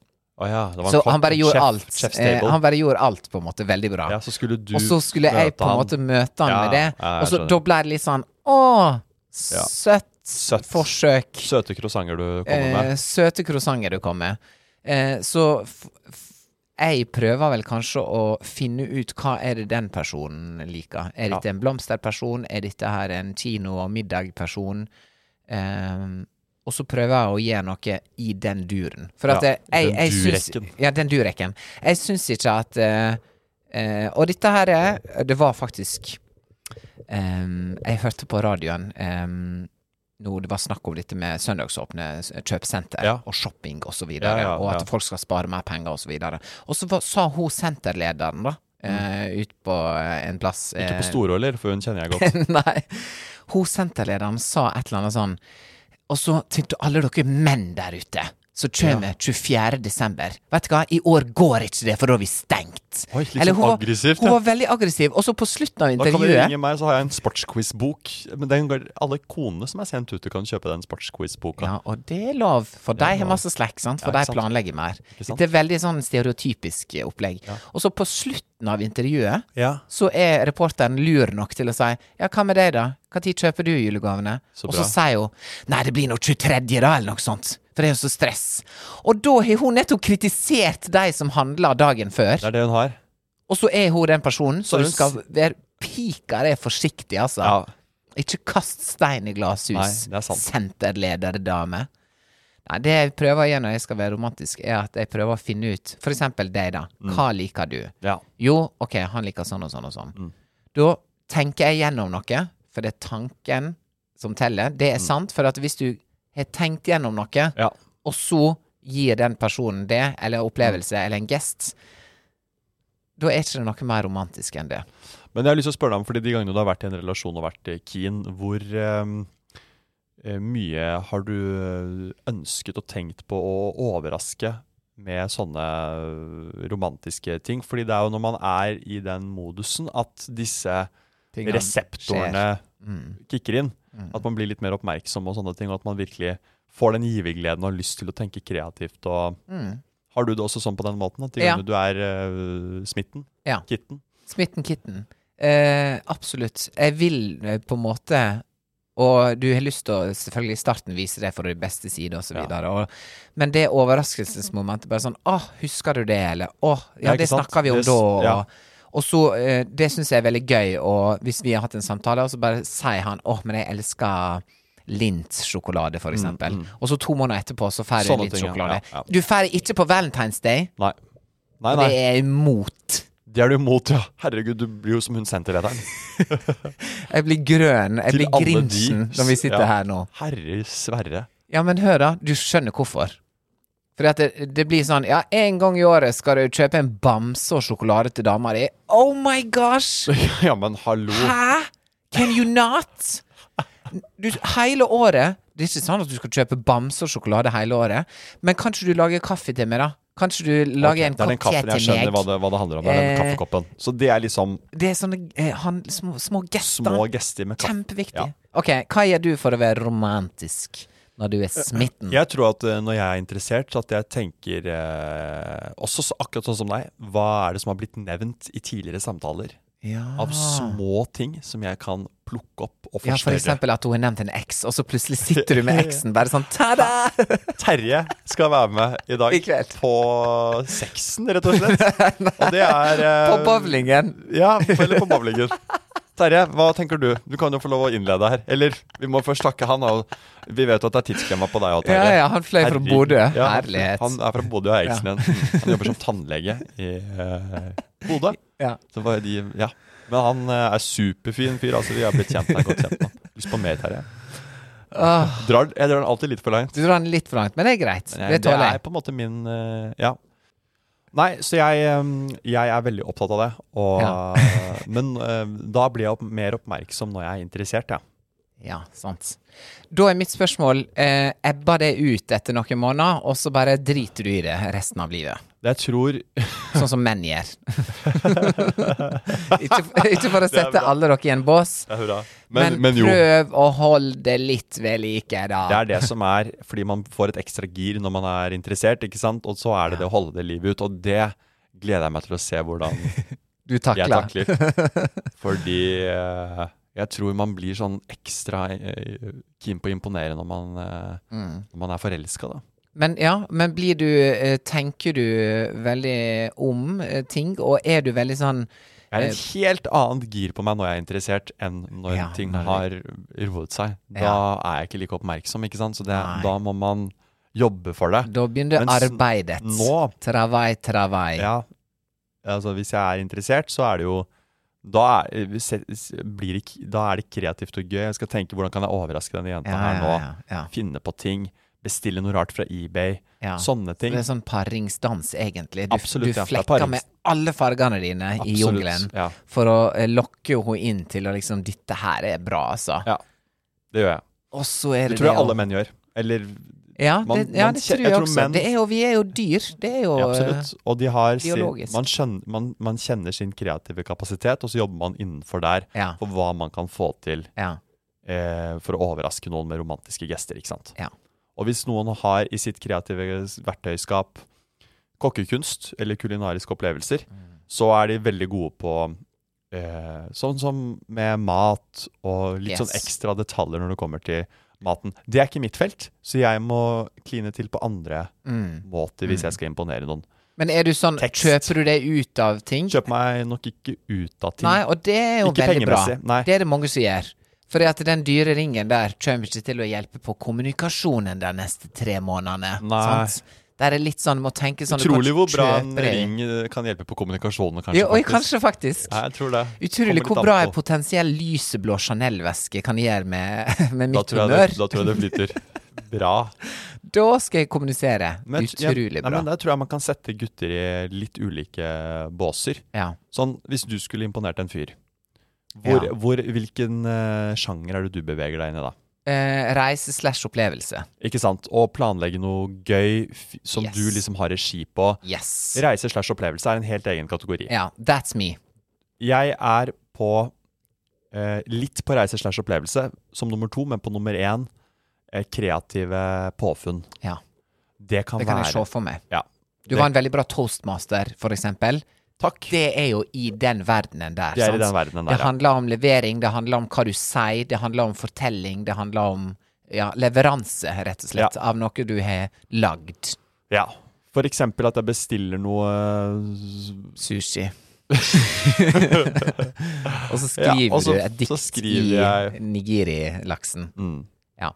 [SPEAKER 2] Å ja, det var en
[SPEAKER 3] Så
[SPEAKER 2] kokk,
[SPEAKER 3] han bare
[SPEAKER 2] en
[SPEAKER 3] gjorde
[SPEAKER 2] chef-
[SPEAKER 3] alt.
[SPEAKER 2] chef
[SPEAKER 3] Eh,
[SPEAKER 2] stable.
[SPEAKER 3] han bare gjorde alt, på en måte. Veldig bra.
[SPEAKER 2] ja, så skulle du
[SPEAKER 3] og så skulle jeg
[SPEAKER 2] møte
[SPEAKER 3] på en
[SPEAKER 2] han.
[SPEAKER 3] måte møte han
[SPEAKER 2] Ja,
[SPEAKER 3] med det,
[SPEAKER 2] ja, jeg
[SPEAKER 3] og så
[SPEAKER 2] skjønner.
[SPEAKER 3] da ble det litt sånn Å!
[SPEAKER 2] Ja.
[SPEAKER 3] Søtt,
[SPEAKER 2] Søtt.
[SPEAKER 3] forsøk.
[SPEAKER 2] Søte croissanter du kommer
[SPEAKER 3] Eh,
[SPEAKER 2] med.
[SPEAKER 3] søte croissanter du kom med. Eh, så f f jeg prøver vel kanskje å finne ut hva er det den personen liker. Er dette en blomsterperson? Er dette her en kino- og middagperson? Eh, og så prøver jeg å gjøre noe i den duren. For at
[SPEAKER 2] Ja,
[SPEAKER 3] jeg, jeg,
[SPEAKER 2] den
[SPEAKER 3] jeg syns
[SPEAKER 2] durekken.
[SPEAKER 3] Ja, den durekken. Jeg syns ikke at eh, eh, Og dette her er Det var faktisk Ehm, jeg hørte på radioen ehm, nå det var snakk om dette med søndagsåpne s- kjøpesenter
[SPEAKER 2] Ja.
[SPEAKER 3] og shopping osv., og, så
[SPEAKER 2] Ja,
[SPEAKER 3] videre,
[SPEAKER 2] ja,
[SPEAKER 3] og at
[SPEAKER 2] ja.
[SPEAKER 3] folk skal spare mer penger osv. Og, og så var- sa hun senterlederen, da, eh, ut på eh, en plass
[SPEAKER 2] Mm. Ikke
[SPEAKER 3] eh,
[SPEAKER 2] på Storå, eller? For hun kjenner jeg
[SPEAKER 3] (laughs)
[SPEAKER 2] godt.
[SPEAKER 3] Nei. Hun senterlederen sa et eller annet sånn Og så til alle dere menn der ute som kommer 24. desember. Vet du hva, i år går ikke det, for da er vi stengt.
[SPEAKER 2] Oi, litt
[SPEAKER 3] Eller
[SPEAKER 2] sånn
[SPEAKER 3] hun,
[SPEAKER 2] aggressivt,
[SPEAKER 3] var, hun
[SPEAKER 2] ja.
[SPEAKER 3] var veldig aggressiv. Og så på slutten
[SPEAKER 2] Da
[SPEAKER 3] av
[SPEAKER 2] kan dere
[SPEAKER 3] intervjuet
[SPEAKER 2] ringe meg, så har jeg en sportsquiz-bok. Men den går, alle konene som er sendt ut, du kan kjøpe den sportsquiz-boka.
[SPEAKER 3] Ja, og det er lov, for de har masse slack, sant? for
[SPEAKER 2] Ja, ikke
[SPEAKER 3] de
[SPEAKER 2] sant?
[SPEAKER 3] planlegger mer.
[SPEAKER 2] sant?
[SPEAKER 3] Det er veldig sånn stereotypisk eh, opplegg. Og så på slutten av intervjuet
[SPEAKER 2] Ja.
[SPEAKER 3] så er reporteren lur nok til å si Ja, hva med deg, da? Når kjøper du julegavene?
[SPEAKER 2] Så
[SPEAKER 3] og
[SPEAKER 2] bra.
[SPEAKER 3] så sier hun Nei, det blir nå 23., da, eller noe sånt. For det er jo så stress. Og da har hun nettopp kritisert de som handla dagen før.
[SPEAKER 2] Det er det hun har.
[SPEAKER 3] Og så er hun den personen som
[SPEAKER 2] hun
[SPEAKER 3] du skal være Pika er forsiktig, altså.
[SPEAKER 2] Ja.
[SPEAKER 3] Ikke kast stein i glasshus,
[SPEAKER 2] Nei, det er sant.
[SPEAKER 3] senterlederdame. Nei, det jeg prøver å gjøre når jeg skal være romantisk, er at jeg prøver å finne ut For eksempel deg, da.
[SPEAKER 2] Mm.
[SPEAKER 3] Hva liker du?
[SPEAKER 2] ja.
[SPEAKER 3] Jo, ok, han liker sånn og sånn og sånn.
[SPEAKER 2] Mm.
[SPEAKER 3] Da tenker jeg gjennom noe, for det er tanken som teller. Det er sant, for at hvis du har tenkt gjennom noe,
[SPEAKER 2] Mm. Ja. Mm.
[SPEAKER 3] og så gir den personen det, eller opplevelse, eller en gest, da er ikke det noe mer romantisk enn det.
[SPEAKER 2] Men jeg har lyst til å spørre deg om, fordi de gangene du har vært i en relasjon og vært eh, keen, hvor ehm, eh, mye har du eh, ønsket og tenkt på å overraske med sånne eh, romantiske ting? Fordi det er jo når man er i den modusen at disse
[SPEAKER 3] Tingene Mm.
[SPEAKER 2] reseptorene kicker inn. At man blir litt mer oppmerksom og sånne ting, og at man virkelig får den givergleden og har lyst til å tenke kreativt. Og
[SPEAKER 3] Mm.
[SPEAKER 2] Har du det også sånn på den måten? At de
[SPEAKER 3] Ja.
[SPEAKER 2] gangene du er eh, smitten,
[SPEAKER 3] Ja.
[SPEAKER 2] kitten,
[SPEAKER 3] Smitten Kitten. Eh, absolutt. Jeg vil eh, på en måte Og du har lyst til å selvfølgelig i starten vise det fra din beste side osv.
[SPEAKER 2] Ja.
[SPEAKER 3] videre og- Men det overraskelsesmomentet bare sånn Åh, husker du det, eller? Åh, ja,
[SPEAKER 2] Ja, ikke
[SPEAKER 3] det
[SPEAKER 2] sant?
[SPEAKER 3] snakka vi om
[SPEAKER 2] Det s-
[SPEAKER 3] da. Og,
[SPEAKER 2] ja.
[SPEAKER 3] og så eh, Det syns jeg er veldig gøy, og hvis vi har hatt en samtale, og så bare sier han Åh, men jeg elsker Lint-sjokolade, for eksempel. Og så to måneder etterpå så får du
[SPEAKER 2] Mm, Sånne ting, ja.
[SPEAKER 3] Lint-sjokolade.
[SPEAKER 2] Ja, ja.
[SPEAKER 3] Du får ikke på Valentine's Day,
[SPEAKER 2] Nei. Nei,
[SPEAKER 3] og
[SPEAKER 2] nei.
[SPEAKER 3] det er jeg imot.
[SPEAKER 2] Det er du imot, ja. Herregud, du blir jo som hun senterlederen.
[SPEAKER 3] Jeg blir grønn. Jeg
[SPEAKER 2] Til
[SPEAKER 3] blir
[SPEAKER 2] alle de-
[SPEAKER 3] grinsen når vi sitter
[SPEAKER 2] Ja.
[SPEAKER 3] her nå.
[SPEAKER 2] Herre sverre. (laughs)
[SPEAKER 3] Ja, men hør, da. Du skjønner hvorfor. Fordi at det, det blir sånn Ja, en gang i året skal du kjøpe en bamse og sjokolade til dama di. Oh my gosh!
[SPEAKER 2] ja, men hallo.
[SPEAKER 3] Hæ? Can you not? Du, hele året Det er ikke sånn at du skal kjøpe bamse og sjokolade hele året. Men kan ikke du lage kaffe til meg, da? Kan ikke du
[SPEAKER 2] Ok,
[SPEAKER 3] lage en
[SPEAKER 2] det er den
[SPEAKER 3] kopp te
[SPEAKER 2] kaffen jeg
[SPEAKER 3] til
[SPEAKER 2] skjønner
[SPEAKER 3] meg?
[SPEAKER 2] hva det, hva det handler om. Det er den
[SPEAKER 3] Eh,
[SPEAKER 2] kaffekoppen. Så det er liksom
[SPEAKER 3] Det er sånne eh, han, små, små gester.
[SPEAKER 2] små gester med kaffe.
[SPEAKER 3] Kjempeviktig.
[SPEAKER 2] Ja.
[SPEAKER 3] Ok, hva gjør du for å være romantisk når du er smitten?
[SPEAKER 2] Jeg tror at eh, når jeg er interessert, at jeg tenker eh, også så, akkurat sånn som deg, hva er det som har blitt nevnt i tidligere samtaler?
[SPEAKER 3] Ja.
[SPEAKER 2] Av små ting som jeg kan plukke opp og
[SPEAKER 3] Ah. ja, for
[SPEAKER 2] forstørre.
[SPEAKER 3] eksempel at hun har nevnt en eks, og så plutselig sitter
[SPEAKER 2] (laughs)
[SPEAKER 3] du med eksen bare sånn ta-da!
[SPEAKER 2] Terje skal være med i dag
[SPEAKER 3] I kveld.
[SPEAKER 2] på sexen, rett og
[SPEAKER 3] (laughs)
[SPEAKER 2] slett. Og det er eh,
[SPEAKER 3] På bowlingen.
[SPEAKER 2] Ja, eller på bowlingen. Terje, hva tenker du? Du kan jo få lov å innlede her. Eller vi må først takke han. Og vi vet jo at det er tidsklemma på deg òg, Terje.
[SPEAKER 3] Ja, ja, han fløy fra
[SPEAKER 2] Herregud.
[SPEAKER 3] Bodø.
[SPEAKER 2] Ja,
[SPEAKER 3] Herlighet.
[SPEAKER 2] Han er fra Bodø og er eksen
[SPEAKER 3] (laughs)
[SPEAKER 2] igjen. Han jobber som tannlege i eh, Bodø.
[SPEAKER 3] Ja.
[SPEAKER 2] Så var de, ja. Men han eh, er superfin fyr. Altså, vi har blitt kjent er godt kjent nå. Lyst på mer, Terje. Drar, jeg drar den alltid litt for langt.
[SPEAKER 3] Du drar den litt for langt, men det er greit.
[SPEAKER 2] Men
[SPEAKER 3] Ah. Det
[SPEAKER 2] jeg, det
[SPEAKER 3] tåler
[SPEAKER 2] er
[SPEAKER 3] jeg.
[SPEAKER 2] på en måte min eh, Ja. Nei, så jeg, eh, jeg er veldig opptatt (laughs) av det. Og, Men eh, da blir jeg opp, mer oppmerksom når jeg er interessert, ja.
[SPEAKER 3] Ja, sant. Da er mitt spørsmål eh, Ebber det ut etter noen måneder, og så bare driter du i det resten av livet?
[SPEAKER 2] Jeg tror
[SPEAKER 3] Sånn som menn gjør.
[SPEAKER 2] (laughs)
[SPEAKER 3] ikke, ikke for å sette alle dere i en bås, men,
[SPEAKER 2] Men, men jo.
[SPEAKER 3] prøv å holde det litt ved like, da.
[SPEAKER 2] Det er det som er fordi man får et ekstra gir når man er interessert, ikke sant? Og så er det det å holde det livet ut, og det gleder jeg meg til å se
[SPEAKER 3] (laughs)
[SPEAKER 2] hvordan
[SPEAKER 3] du takler.
[SPEAKER 2] jeg takler.
[SPEAKER 3] (laughs)
[SPEAKER 2] Fordi eh, jeg tror man blir sånn ekstra eh, keen på å imponere når man, eh,
[SPEAKER 3] Mm.
[SPEAKER 2] når man er forelska, da.
[SPEAKER 3] Men ja, men blir du eh, Tenker du veldig om eh, ting, og er du veldig sånn
[SPEAKER 2] Jeg er et helt annet gir på meg når jeg er interessert, enn når
[SPEAKER 3] Ja,
[SPEAKER 2] ting
[SPEAKER 3] når
[SPEAKER 2] har roet seg. Da er jeg ikke like oppmerksom, ikke sant? Så det,
[SPEAKER 3] Nei.
[SPEAKER 2] da må man jobbe for det.
[SPEAKER 3] Da begynner
[SPEAKER 2] Mens
[SPEAKER 3] arbeidet.
[SPEAKER 2] nå-
[SPEAKER 3] Travai, travai.
[SPEAKER 2] Ja. Altså, hvis jeg er interessert, så er det jo Da er, hvis jeg- s- blir det, k- da er det kreativt og gøy. Jeg skal tenke hvordan kan jeg overraske denne jenta
[SPEAKER 3] Ja,
[SPEAKER 2] her
[SPEAKER 3] ja,
[SPEAKER 2] nå?
[SPEAKER 3] ja, ja.
[SPEAKER 2] Finne på ting. Bestille noe rart fra eBay.
[SPEAKER 3] Ja.
[SPEAKER 2] Sånne ting.
[SPEAKER 3] Det er sånn paringsdans, egentlig. Du,
[SPEAKER 2] Absolutt, ja,
[SPEAKER 3] du
[SPEAKER 2] det er
[SPEAKER 3] flekker
[SPEAKER 2] parings-
[SPEAKER 3] med alle fargene dine i
[SPEAKER 2] Absolutt,
[SPEAKER 3] jungelen
[SPEAKER 2] ja.
[SPEAKER 3] for å eh, lokke henne inn til å liksom Dette her er bra, altså.
[SPEAKER 2] Ja, det gjør jeg.
[SPEAKER 3] Og så er
[SPEAKER 2] Det
[SPEAKER 3] det
[SPEAKER 2] tror jeg
[SPEAKER 3] å-
[SPEAKER 2] alle menn gjør. Eller
[SPEAKER 3] Ja, det,
[SPEAKER 2] Man-
[SPEAKER 3] ja,
[SPEAKER 2] man
[SPEAKER 3] det
[SPEAKER 2] kje-
[SPEAKER 3] tror jeg,
[SPEAKER 2] jeg tror
[SPEAKER 3] også.
[SPEAKER 2] menn-
[SPEAKER 3] Det er jo, vi er jo dyr. Det er jo
[SPEAKER 2] ja, Absolutt. Og de har sin,
[SPEAKER 3] eh, biologisk.
[SPEAKER 2] man, skjønner, man, man kjenner sin kreative kapasitet, og så jobber man innenfor der
[SPEAKER 3] eh, Ja.
[SPEAKER 2] for hva man kan få til
[SPEAKER 3] eh, Ja.
[SPEAKER 2] eh, for å overraske noen med romantiske gester. ikke sant?
[SPEAKER 3] ja.
[SPEAKER 2] Og hvis noen har i sitt kreative verktøyskap kokkekunst eller kulinariske opplevelser,
[SPEAKER 3] Mm.
[SPEAKER 2] så er de veldig gode på eh, sånn som med mat og litt sånn
[SPEAKER 3] Yes.
[SPEAKER 2] ekstra detaljer når det kommer til maten. Det er ikke mitt felt, så jeg må kline til på andre
[SPEAKER 3] Mm.
[SPEAKER 2] måter hvis jeg skal imponere noen.
[SPEAKER 3] Men er du sånn
[SPEAKER 2] Tekst.
[SPEAKER 3] Kjøper du det ut av ting?
[SPEAKER 2] Kjøp meg nok ikke ut av ting.
[SPEAKER 3] Nei, og det er jo
[SPEAKER 2] Ikke
[SPEAKER 3] veldig bra.
[SPEAKER 2] pengemessig, nei.
[SPEAKER 3] Det er det mange som gjør. Fordi at den dyre ringen der kommer ikke til å hjelpe på kommunikasjonen de neste tre månedene.
[SPEAKER 2] Nei.
[SPEAKER 3] Sant? Der er litt sånn, må tenke sånn du
[SPEAKER 2] Utrolig
[SPEAKER 3] kanskje
[SPEAKER 2] hvor bra en
[SPEAKER 3] kjøper det.
[SPEAKER 2] ring eh, kan hjelpe på kommunikasjonen, kanskje.
[SPEAKER 3] Ja, oi,
[SPEAKER 2] faktisk.
[SPEAKER 3] kanskje faktisk.
[SPEAKER 2] Ja, jeg tror det.
[SPEAKER 3] Utrolig
[SPEAKER 2] Kommer
[SPEAKER 3] hvor
[SPEAKER 2] litt
[SPEAKER 3] bra
[SPEAKER 2] an
[SPEAKER 3] en
[SPEAKER 2] på.
[SPEAKER 3] potensiell lyseblå Chanel-veske kan gjøre med, (laughs) med
[SPEAKER 2] Da tror
[SPEAKER 3] mitt
[SPEAKER 2] jeg
[SPEAKER 3] humør.
[SPEAKER 2] det- Da tror jeg det flyter. Bra.
[SPEAKER 3] Da skal jeg kommunisere.
[SPEAKER 2] Men jeg-
[SPEAKER 3] (laughs) Utrolig
[SPEAKER 2] Nei,
[SPEAKER 3] bra.
[SPEAKER 2] men der tror jeg man kan sette gutter i litt ulike båser.
[SPEAKER 3] Ja.
[SPEAKER 2] Sånn, hvis du skulle imponert en fyr, hvor,
[SPEAKER 3] Ja.
[SPEAKER 2] hvor, hvilken eh, sjanger er det du beveger deg inn i da?
[SPEAKER 3] Eh, reise slash opplevelse.
[SPEAKER 2] Ikke sant? Å planlegge noe gøy f som
[SPEAKER 3] Yes.
[SPEAKER 2] du liksom har regi på.
[SPEAKER 3] Yes.
[SPEAKER 2] Reise slash opplevelse er en helt egen kategori.
[SPEAKER 3] Ja, that's me.
[SPEAKER 2] Jeg er på eh, litt på reise slash opplevelse som nummer to, men på nummer én eh, kreative påfunn.
[SPEAKER 3] Ja,
[SPEAKER 2] Det kan,
[SPEAKER 3] det kan jeg
[SPEAKER 2] være
[SPEAKER 3] se for meg.
[SPEAKER 2] Ja.
[SPEAKER 3] Du
[SPEAKER 2] Det-
[SPEAKER 3] var en veldig bra toastmaster, for eksempel.
[SPEAKER 2] Takk.
[SPEAKER 3] Det er jo i den verdenen der.
[SPEAKER 2] Det er i
[SPEAKER 3] sant?
[SPEAKER 2] den verdenen der,
[SPEAKER 3] Det
[SPEAKER 2] ja.
[SPEAKER 3] handler om levering, det handler om hva du sier, det handler om fortelling, det handler om ja, leveranse, rett og slett,
[SPEAKER 2] Ja.
[SPEAKER 3] av noe du har lagd.
[SPEAKER 2] Ja. For eksempel at jeg bestiller noe (laughs) eh,
[SPEAKER 3] Sushi.
[SPEAKER 2] (laughs)
[SPEAKER 3] og så
[SPEAKER 2] Ja,
[SPEAKER 3] skriver
[SPEAKER 2] og så-
[SPEAKER 3] du et
[SPEAKER 2] så
[SPEAKER 3] dikt i
[SPEAKER 2] skriver jeg- Mm.
[SPEAKER 3] nigiri-laksen. Ja.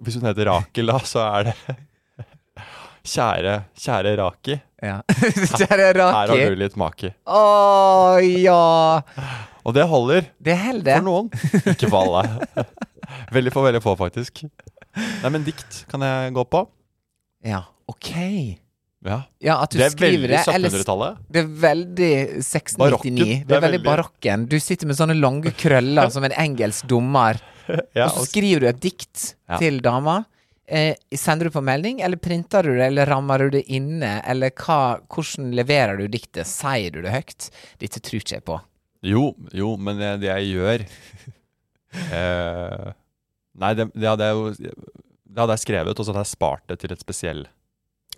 [SPEAKER 2] Hvis hun heter Rakel, da, så er det (laughs) Kjære, kjære Raki,
[SPEAKER 3] ja. (laughs) Kjære
[SPEAKER 2] her har du
[SPEAKER 3] Raki.
[SPEAKER 2] litt maki.
[SPEAKER 3] Å ja!
[SPEAKER 2] Og det holder
[SPEAKER 3] Det holder.
[SPEAKER 2] for
[SPEAKER 3] (laughs)
[SPEAKER 2] noen. Ikke for alle. (laughs) Veldig for veldig få, faktisk. Nei, men dikt kan jeg gå på.
[SPEAKER 3] Ja, OK.
[SPEAKER 2] Ja.
[SPEAKER 3] Ja, at du
[SPEAKER 2] Det er
[SPEAKER 3] skriver
[SPEAKER 2] veldig
[SPEAKER 3] det. Eller
[SPEAKER 2] 1700-tallet.
[SPEAKER 3] Det er veldig 1699.
[SPEAKER 2] Barokken.
[SPEAKER 3] Det er, veldig barokken. Du sitter med sånne lange krøller som en engelsk dommer,
[SPEAKER 2] (laughs) Ja,
[SPEAKER 3] og så
[SPEAKER 2] og-
[SPEAKER 3] skriver du et dikt
[SPEAKER 2] Ja.
[SPEAKER 3] til dama. Eh, sender du på melding, eller printer du det, eller rammer du det inne, eller hva, hvordan leverer du diktet? Sier du det høyt? Dette tror ikke jeg på.
[SPEAKER 2] jo, jo, men det, det jeg
[SPEAKER 3] (laughs)
[SPEAKER 2] gjør eh, Nei, det, det hadde jeg jo Det hadde jeg skrevet, og så hadde jeg spart det til et spesiell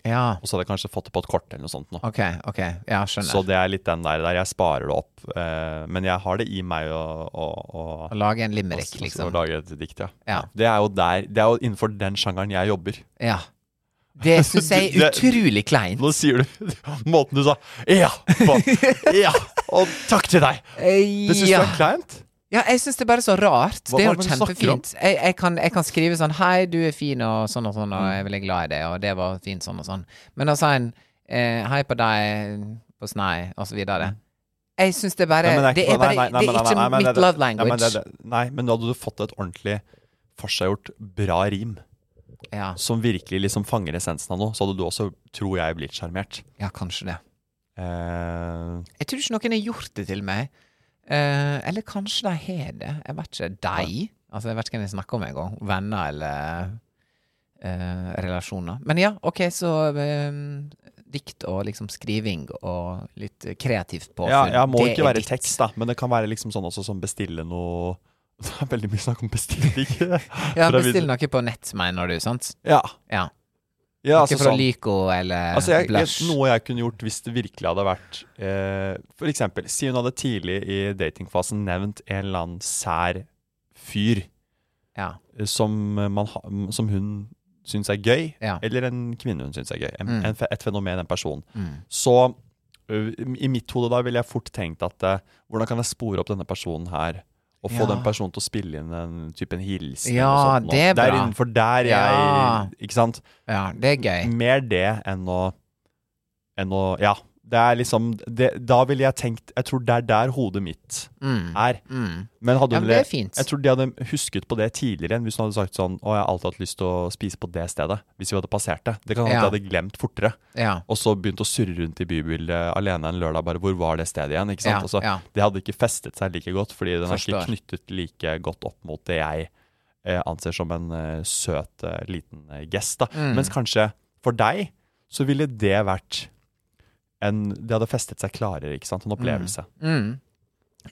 [SPEAKER 3] Ja,
[SPEAKER 2] Og så hadde jeg kanskje fått det på et kort eller noe sånt. Nå.
[SPEAKER 3] ok, ok, ja, skjønner.
[SPEAKER 2] Så det er litt den der, der jeg sparer det opp. Eh, men jeg har det i meg å, å, å,
[SPEAKER 3] Å lage en
[SPEAKER 2] å-
[SPEAKER 3] limerick,
[SPEAKER 2] å- å
[SPEAKER 3] liksom.
[SPEAKER 2] lage et dikt, ja.
[SPEAKER 3] Ja.
[SPEAKER 2] Det er jo der, det er jo innenfor den sjangeren jeg jobber.
[SPEAKER 3] Ja. Det syns
[SPEAKER 2] (laughs)
[SPEAKER 3] jeg
[SPEAKER 2] Du-
[SPEAKER 3] er
[SPEAKER 2] det-
[SPEAKER 3] utrolig kleint.
[SPEAKER 2] Nå sier du (laughs) måten du sa ja på. Ja! Og takk til deg! Det syns
[SPEAKER 3] ja.
[SPEAKER 2] du er kleint?
[SPEAKER 3] Ja, jeg syns det er bare så rart.
[SPEAKER 2] Hva
[SPEAKER 3] det er
[SPEAKER 2] var
[SPEAKER 3] jo
[SPEAKER 2] det du snakker om?
[SPEAKER 3] kjempefint. Jeg, jeg, kan, jeg kan skrive sånn Hei, du er fin, og sånn og sånn, og jeg er veldig glad i det, og det var fint, sånn og sånn. Men å si en eh, Hei på deg, på snei, og så videre. Jeg syns det er bare
[SPEAKER 2] Mm. Nei, men
[SPEAKER 3] Det
[SPEAKER 2] ikke-
[SPEAKER 3] er bare
[SPEAKER 2] nei, nei,
[SPEAKER 3] Det
[SPEAKER 2] nei,
[SPEAKER 3] er
[SPEAKER 2] nei,
[SPEAKER 3] ikke
[SPEAKER 2] nei, nei,
[SPEAKER 3] mitt
[SPEAKER 2] det-
[SPEAKER 3] love
[SPEAKER 2] Nei, men,
[SPEAKER 3] language.
[SPEAKER 2] det- det- nei, men da hadde du fått et ordentlig forseggjort bra rim
[SPEAKER 3] Ja,
[SPEAKER 2] som virkelig liksom fanger essensen av noe, så hadde du også, tror jeg, blitt sjarmert.
[SPEAKER 3] ja, kanskje det.
[SPEAKER 2] Eh,
[SPEAKER 3] Jeg tror ikke noen har gjort det til meg. Eh, eller kanskje de har det. Jeg vet ikke. De? Altså, jeg vet ikke hvem jeg snakker om engang. Venner eller eh, relasjoner. Men ja, OK, så eh, dikt og liksom skriving og litt kreativt påfunn.
[SPEAKER 2] Ja, ja, må
[SPEAKER 3] det
[SPEAKER 2] ikke
[SPEAKER 3] er
[SPEAKER 2] være
[SPEAKER 3] ditt.
[SPEAKER 2] tekst, da, men det kan være liksom sånn også som bestille noe (laughs) Det er veldig mye snakk om bestilling. (laughs)
[SPEAKER 3] Ja,
[SPEAKER 2] Fra vid-
[SPEAKER 3] bestill noe på nett, mener du, sant?
[SPEAKER 2] Ja,
[SPEAKER 3] Ja.
[SPEAKER 2] ja altså
[SPEAKER 3] ikke fra
[SPEAKER 2] sånn.
[SPEAKER 3] Lyco eller
[SPEAKER 2] Altså jeg, jeg,
[SPEAKER 3] Blush.
[SPEAKER 2] noe jeg kunne gjort hvis det virkelig hadde vært eh, For eksempel, si hun hadde tidlig i datingfasen nevnt en eller annen sær fyr
[SPEAKER 3] Ja.
[SPEAKER 2] eh, som, man, ha- m- som hun syns er gøy,
[SPEAKER 3] Ja.
[SPEAKER 2] eller en kvinne hun syns er gøy. En,
[SPEAKER 3] Mm.
[SPEAKER 2] en, fe- et fenomen, en person.
[SPEAKER 3] Mm.
[SPEAKER 2] Så ø, i mitt hode da ville jeg fort tenkt at eh, hvordan kan jeg spore opp denne personen her? Og få
[SPEAKER 3] Ja.
[SPEAKER 2] den personen til å spille inn en type en hilsen. eller
[SPEAKER 3] Ja,
[SPEAKER 2] noe sånt nå.
[SPEAKER 3] det er
[SPEAKER 2] Det er
[SPEAKER 3] bra.
[SPEAKER 2] innenfor der jeg
[SPEAKER 3] Ja.
[SPEAKER 2] Ikke sant?
[SPEAKER 3] ja, det er gøy.
[SPEAKER 2] Mer det enn å Enn å Ja. Det er liksom det, Da ville jeg tenkt Jeg tror det er der hodet mitt
[SPEAKER 3] Mm.
[SPEAKER 2] er.
[SPEAKER 3] Mm.
[SPEAKER 2] Men hadde
[SPEAKER 3] Ja,
[SPEAKER 2] hun
[SPEAKER 3] men det
[SPEAKER 2] le-
[SPEAKER 3] er fint.
[SPEAKER 2] Jeg tror de hadde husket på det tidligere enn hvis hun hadde sagt sånn Å, jeg har alltid hatt lyst til å spise på det stedet. Hvis vi hadde passert det. Det kan hende
[SPEAKER 3] Ja.
[SPEAKER 2] at jeg hadde glemt fortere.
[SPEAKER 3] Ja.
[SPEAKER 2] Og så begynt å surre rundt i bybildet alene en lørdag. Bare hvor var det stedet igjen? Ikke sant?
[SPEAKER 3] Ja,
[SPEAKER 2] Altså,
[SPEAKER 3] ja.
[SPEAKER 2] Det hadde ikke festet seg like godt, fordi den er ikke
[SPEAKER 3] Forstår.
[SPEAKER 2] knyttet like godt opp mot det jeg eh, anser som en eh, søt eh, liten eh, gest. Da.
[SPEAKER 3] Mm.
[SPEAKER 2] Mens kanskje for deg så ville det vært en Det hadde festet seg klarere, ikke sant? En opplevelse.
[SPEAKER 3] Mm.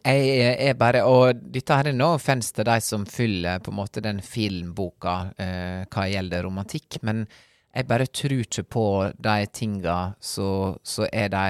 [SPEAKER 3] Jeg er bare Og dette her er no offense til de som fyller på en måte den filmboka eh, hva gjelder romantikk, men jeg bare tror ikke på de tinga så, så er de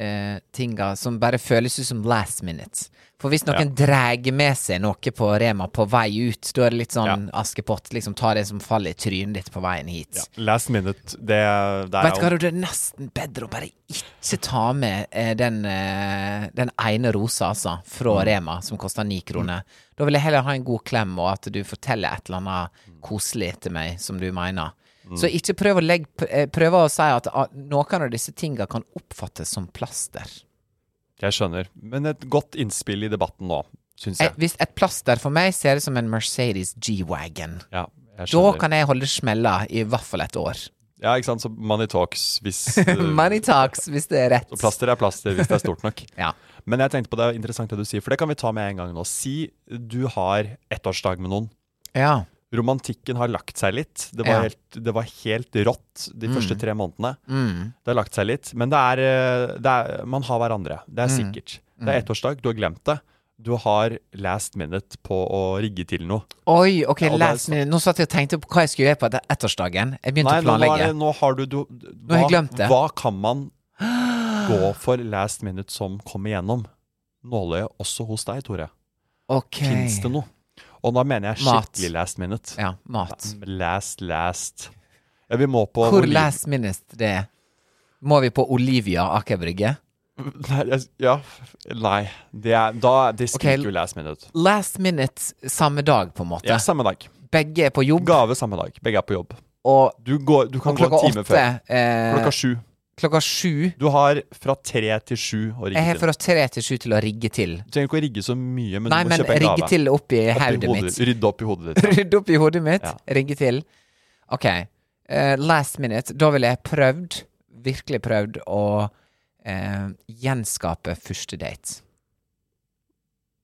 [SPEAKER 3] eh, tinga som bare føles ut som last minute. For hvis noen drar med seg noe på Rema på vei ut, da er det litt sånn Askepott, liksom ta det som faller i trynet ditt på veien hit.
[SPEAKER 2] Ja. Last minute, det der
[SPEAKER 3] Vet du hva, det er nesten bedre å bare ikke ta med eh, den, eh, den ene rosa, altså, fra
[SPEAKER 2] Mm.
[SPEAKER 3] Rema, som koster ni kroner. Da vil jeg heller ha en god klem, og at du forteller et eller annet koselig til meg som du mener.
[SPEAKER 2] Mm.
[SPEAKER 3] Så ikke prøv å, legge, pr- eh, prøv å si at ah, noen av disse tinga kan oppfattes som plaster.
[SPEAKER 2] Jeg skjønner. Men et godt innspill i debatten nå, syns
[SPEAKER 3] Et,
[SPEAKER 2] jeg.
[SPEAKER 3] Eh, hvis et plaster for meg ser ut som en Mercedes G-Wagon,
[SPEAKER 2] Ja, jeg
[SPEAKER 3] da
[SPEAKER 2] skjønner.
[SPEAKER 3] kan jeg holde smella i hvert fall et år.
[SPEAKER 2] Ja, ikke sant. Så money talks
[SPEAKER 3] (laughs)
[SPEAKER 2] hvis eh,
[SPEAKER 3] Money talks, hvis det er rett.
[SPEAKER 2] Så plaster er plaster hvis det er stort nok.
[SPEAKER 3] (laughs) Ja.
[SPEAKER 2] Men jeg tenkte på det er interessant det du sier, for det kan vi ta med en gang nå. Si du har ettårsdag med noen.
[SPEAKER 3] Ja.
[SPEAKER 2] Romantikken har lagt seg litt. Det
[SPEAKER 3] Ja.
[SPEAKER 2] var, helt, det var helt rått de første tre månedene.
[SPEAKER 3] Mm.
[SPEAKER 2] Det har lagt seg litt. Men det er, eh, det er Man har hverandre. Det
[SPEAKER 3] Mm.
[SPEAKER 2] er sikkert. Det er ettårsdag. Du har glemt det. Du har last minute på å rigge til noe.
[SPEAKER 3] Oi, ok,
[SPEAKER 2] Ja, og det er
[SPEAKER 3] last minute. Nå satt jeg og tenkte på hva jeg skulle gjøre på etter- ettårsdagen. Jeg begynte
[SPEAKER 2] Nei,
[SPEAKER 3] å
[SPEAKER 2] nå, nå, er
[SPEAKER 3] planlegge.
[SPEAKER 2] det, nå har du, du
[SPEAKER 3] har jeg glemt det.
[SPEAKER 2] Hva kan man gå for last minute som kommer igjennom? Nåløyet også hos deg, Tore.
[SPEAKER 3] Ok.
[SPEAKER 2] Fins det noe? Og da mener jeg
[SPEAKER 3] Mat.
[SPEAKER 2] skikkelig last minute.
[SPEAKER 3] Ja, mat.
[SPEAKER 2] Last, last. Ja, vi må på
[SPEAKER 3] Hvor
[SPEAKER 2] oliv-
[SPEAKER 3] last minute det er? Må vi på Olivia Aker Brygge?
[SPEAKER 2] (laughs) Nei, jeg- ja, f- nei. Det, er, da, det
[SPEAKER 3] Ok.
[SPEAKER 2] skriker jo last minute.
[SPEAKER 3] Last minute samme dag, på en måte.
[SPEAKER 2] Ja, samme dag.
[SPEAKER 3] Begge er på jobb,
[SPEAKER 2] Gave samme dag. Begge er på jobb.
[SPEAKER 3] og,
[SPEAKER 2] Du, går, du kan
[SPEAKER 3] og
[SPEAKER 2] gå
[SPEAKER 3] klokka
[SPEAKER 2] en time
[SPEAKER 3] åtte
[SPEAKER 2] før.
[SPEAKER 3] eh,
[SPEAKER 2] Klokka sju.
[SPEAKER 3] Klokka sju.
[SPEAKER 2] Du har fra tre til sju å
[SPEAKER 3] Jeg
[SPEAKER 2] rigge
[SPEAKER 3] har
[SPEAKER 2] til.
[SPEAKER 3] fra tre til sju til å rigge til.
[SPEAKER 2] Du trenger ikke å rigge så mye, men
[SPEAKER 3] Nei,
[SPEAKER 2] du må
[SPEAKER 3] men
[SPEAKER 2] kjøpe en
[SPEAKER 3] rigge
[SPEAKER 2] gave.
[SPEAKER 3] til opp i
[SPEAKER 2] Opp i
[SPEAKER 3] hodet
[SPEAKER 2] hodet
[SPEAKER 3] mitt.
[SPEAKER 2] ditt. Rydde opp i hodet ditt.
[SPEAKER 3] (laughs) Rydde opp i hodet mitt,
[SPEAKER 2] Ja.
[SPEAKER 3] rigge til. Ok, eh, last minute. Da ville jeg prøvd, virkelig prøvd, å eh, gjenskape første date.
[SPEAKER 2] (laughs)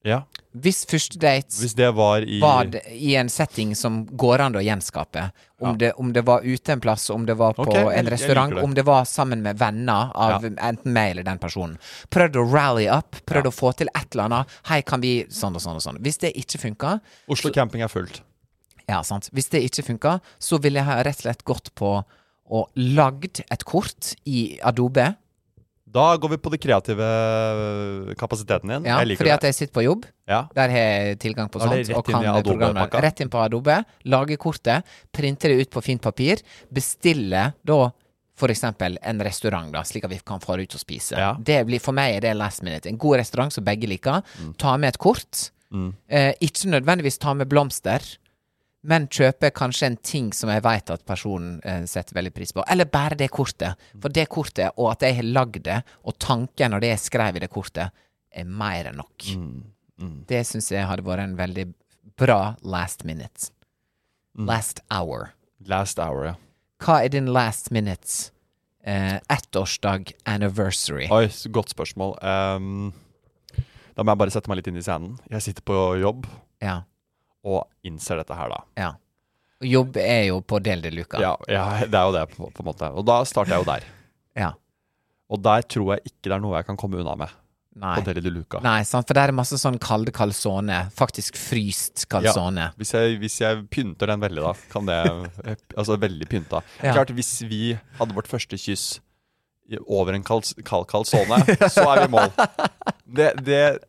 [SPEAKER 2] Ja.
[SPEAKER 3] Hvis første date
[SPEAKER 2] Hvis det var i
[SPEAKER 3] var det i en setting som går an å gjenskape, om,
[SPEAKER 2] Ja.
[SPEAKER 3] det, om det var ute en plass, om det var på
[SPEAKER 2] Ok, jeg- jeg
[SPEAKER 3] en
[SPEAKER 2] liker
[SPEAKER 3] restaurant,
[SPEAKER 2] det.
[SPEAKER 3] om det var sammen med venner av enten meg eller den personen. Prøvd å rally up, prøvd å få til et eller annet. Hei, kan vi sånn og sånn og sånn. Hvis det ikke funker,
[SPEAKER 2] Oslo camping er fullt.
[SPEAKER 3] ja, sant. Hvis det ikke funka, så ville jeg ha rett og slett gått på og lagd et kort i Adobe.
[SPEAKER 2] Da går vi på den kreative øh, kapasiteten din.
[SPEAKER 3] Ja,
[SPEAKER 2] jeg liker
[SPEAKER 3] fordi at
[SPEAKER 2] det.
[SPEAKER 3] jeg sitter på jobb.
[SPEAKER 2] Ja.
[SPEAKER 3] Der har jeg tilgang på
[SPEAKER 2] Da er
[SPEAKER 3] sånt.
[SPEAKER 2] det rett
[SPEAKER 3] og
[SPEAKER 2] inn
[SPEAKER 3] kan
[SPEAKER 2] i Adobe-pakka.
[SPEAKER 3] programmer. Rett inn på Adobe. Lage kortet. Printe det ut på fint papir. Bestille da for eksempel en restaurant, da, slik at vi kan fare ut og spise.
[SPEAKER 2] Ja.
[SPEAKER 3] Det blir, for meg er det last minute. En god restaurant som begge liker.
[SPEAKER 2] Mm.
[SPEAKER 3] Ta med et kort. Eh, ikke nødvendigvis ta med blomster, men kjøpe kanskje en ting som jeg vet at personen eh, setter veldig pris på. Eller bare det kortet.
[SPEAKER 2] Mm.
[SPEAKER 3] For det kortet, og at jeg har lagd det, og tanken og det jeg skrev i det kortet, er mer enn nok.
[SPEAKER 2] Mm.
[SPEAKER 3] Det syns jeg hadde vært en veldig bra last minute.
[SPEAKER 2] Mm.
[SPEAKER 3] Last hour.
[SPEAKER 2] Last hour, ja.
[SPEAKER 3] Hva er din last minute? Eh, ettårsdag anniversary.
[SPEAKER 2] Oi, s- godt spørsmål. Ehm, da må jeg bare sette meg litt inn i scenen. Jeg sitter på jobb,
[SPEAKER 3] Ja.
[SPEAKER 2] og innser dette her, da.
[SPEAKER 3] Ja. Jobb er jo på Del de Luca.
[SPEAKER 2] Ja, ja, det er jo det, på, på en måte. Og da starter jeg jo der.
[SPEAKER 3] Ja.
[SPEAKER 2] Og der tror jeg ikke det er noe jeg kan komme unna med.
[SPEAKER 3] Nei.
[SPEAKER 2] På Deli de Luca.
[SPEAKER 3] Nei, sant? for der er masse sånn kalde calzone. Faktisk fryst calzone.
[SPEAKER 2] Hvis jeg, hvis jeg pynter den veldig, da, kan det (laughs) Altså veldig pynta.
[SPEAKER 3] Ja.
[SPEAKER 2] Klart, hvis vi hadde vårt første kyss i- over en kals- kald kalsone, så er vi i mål. Det, det,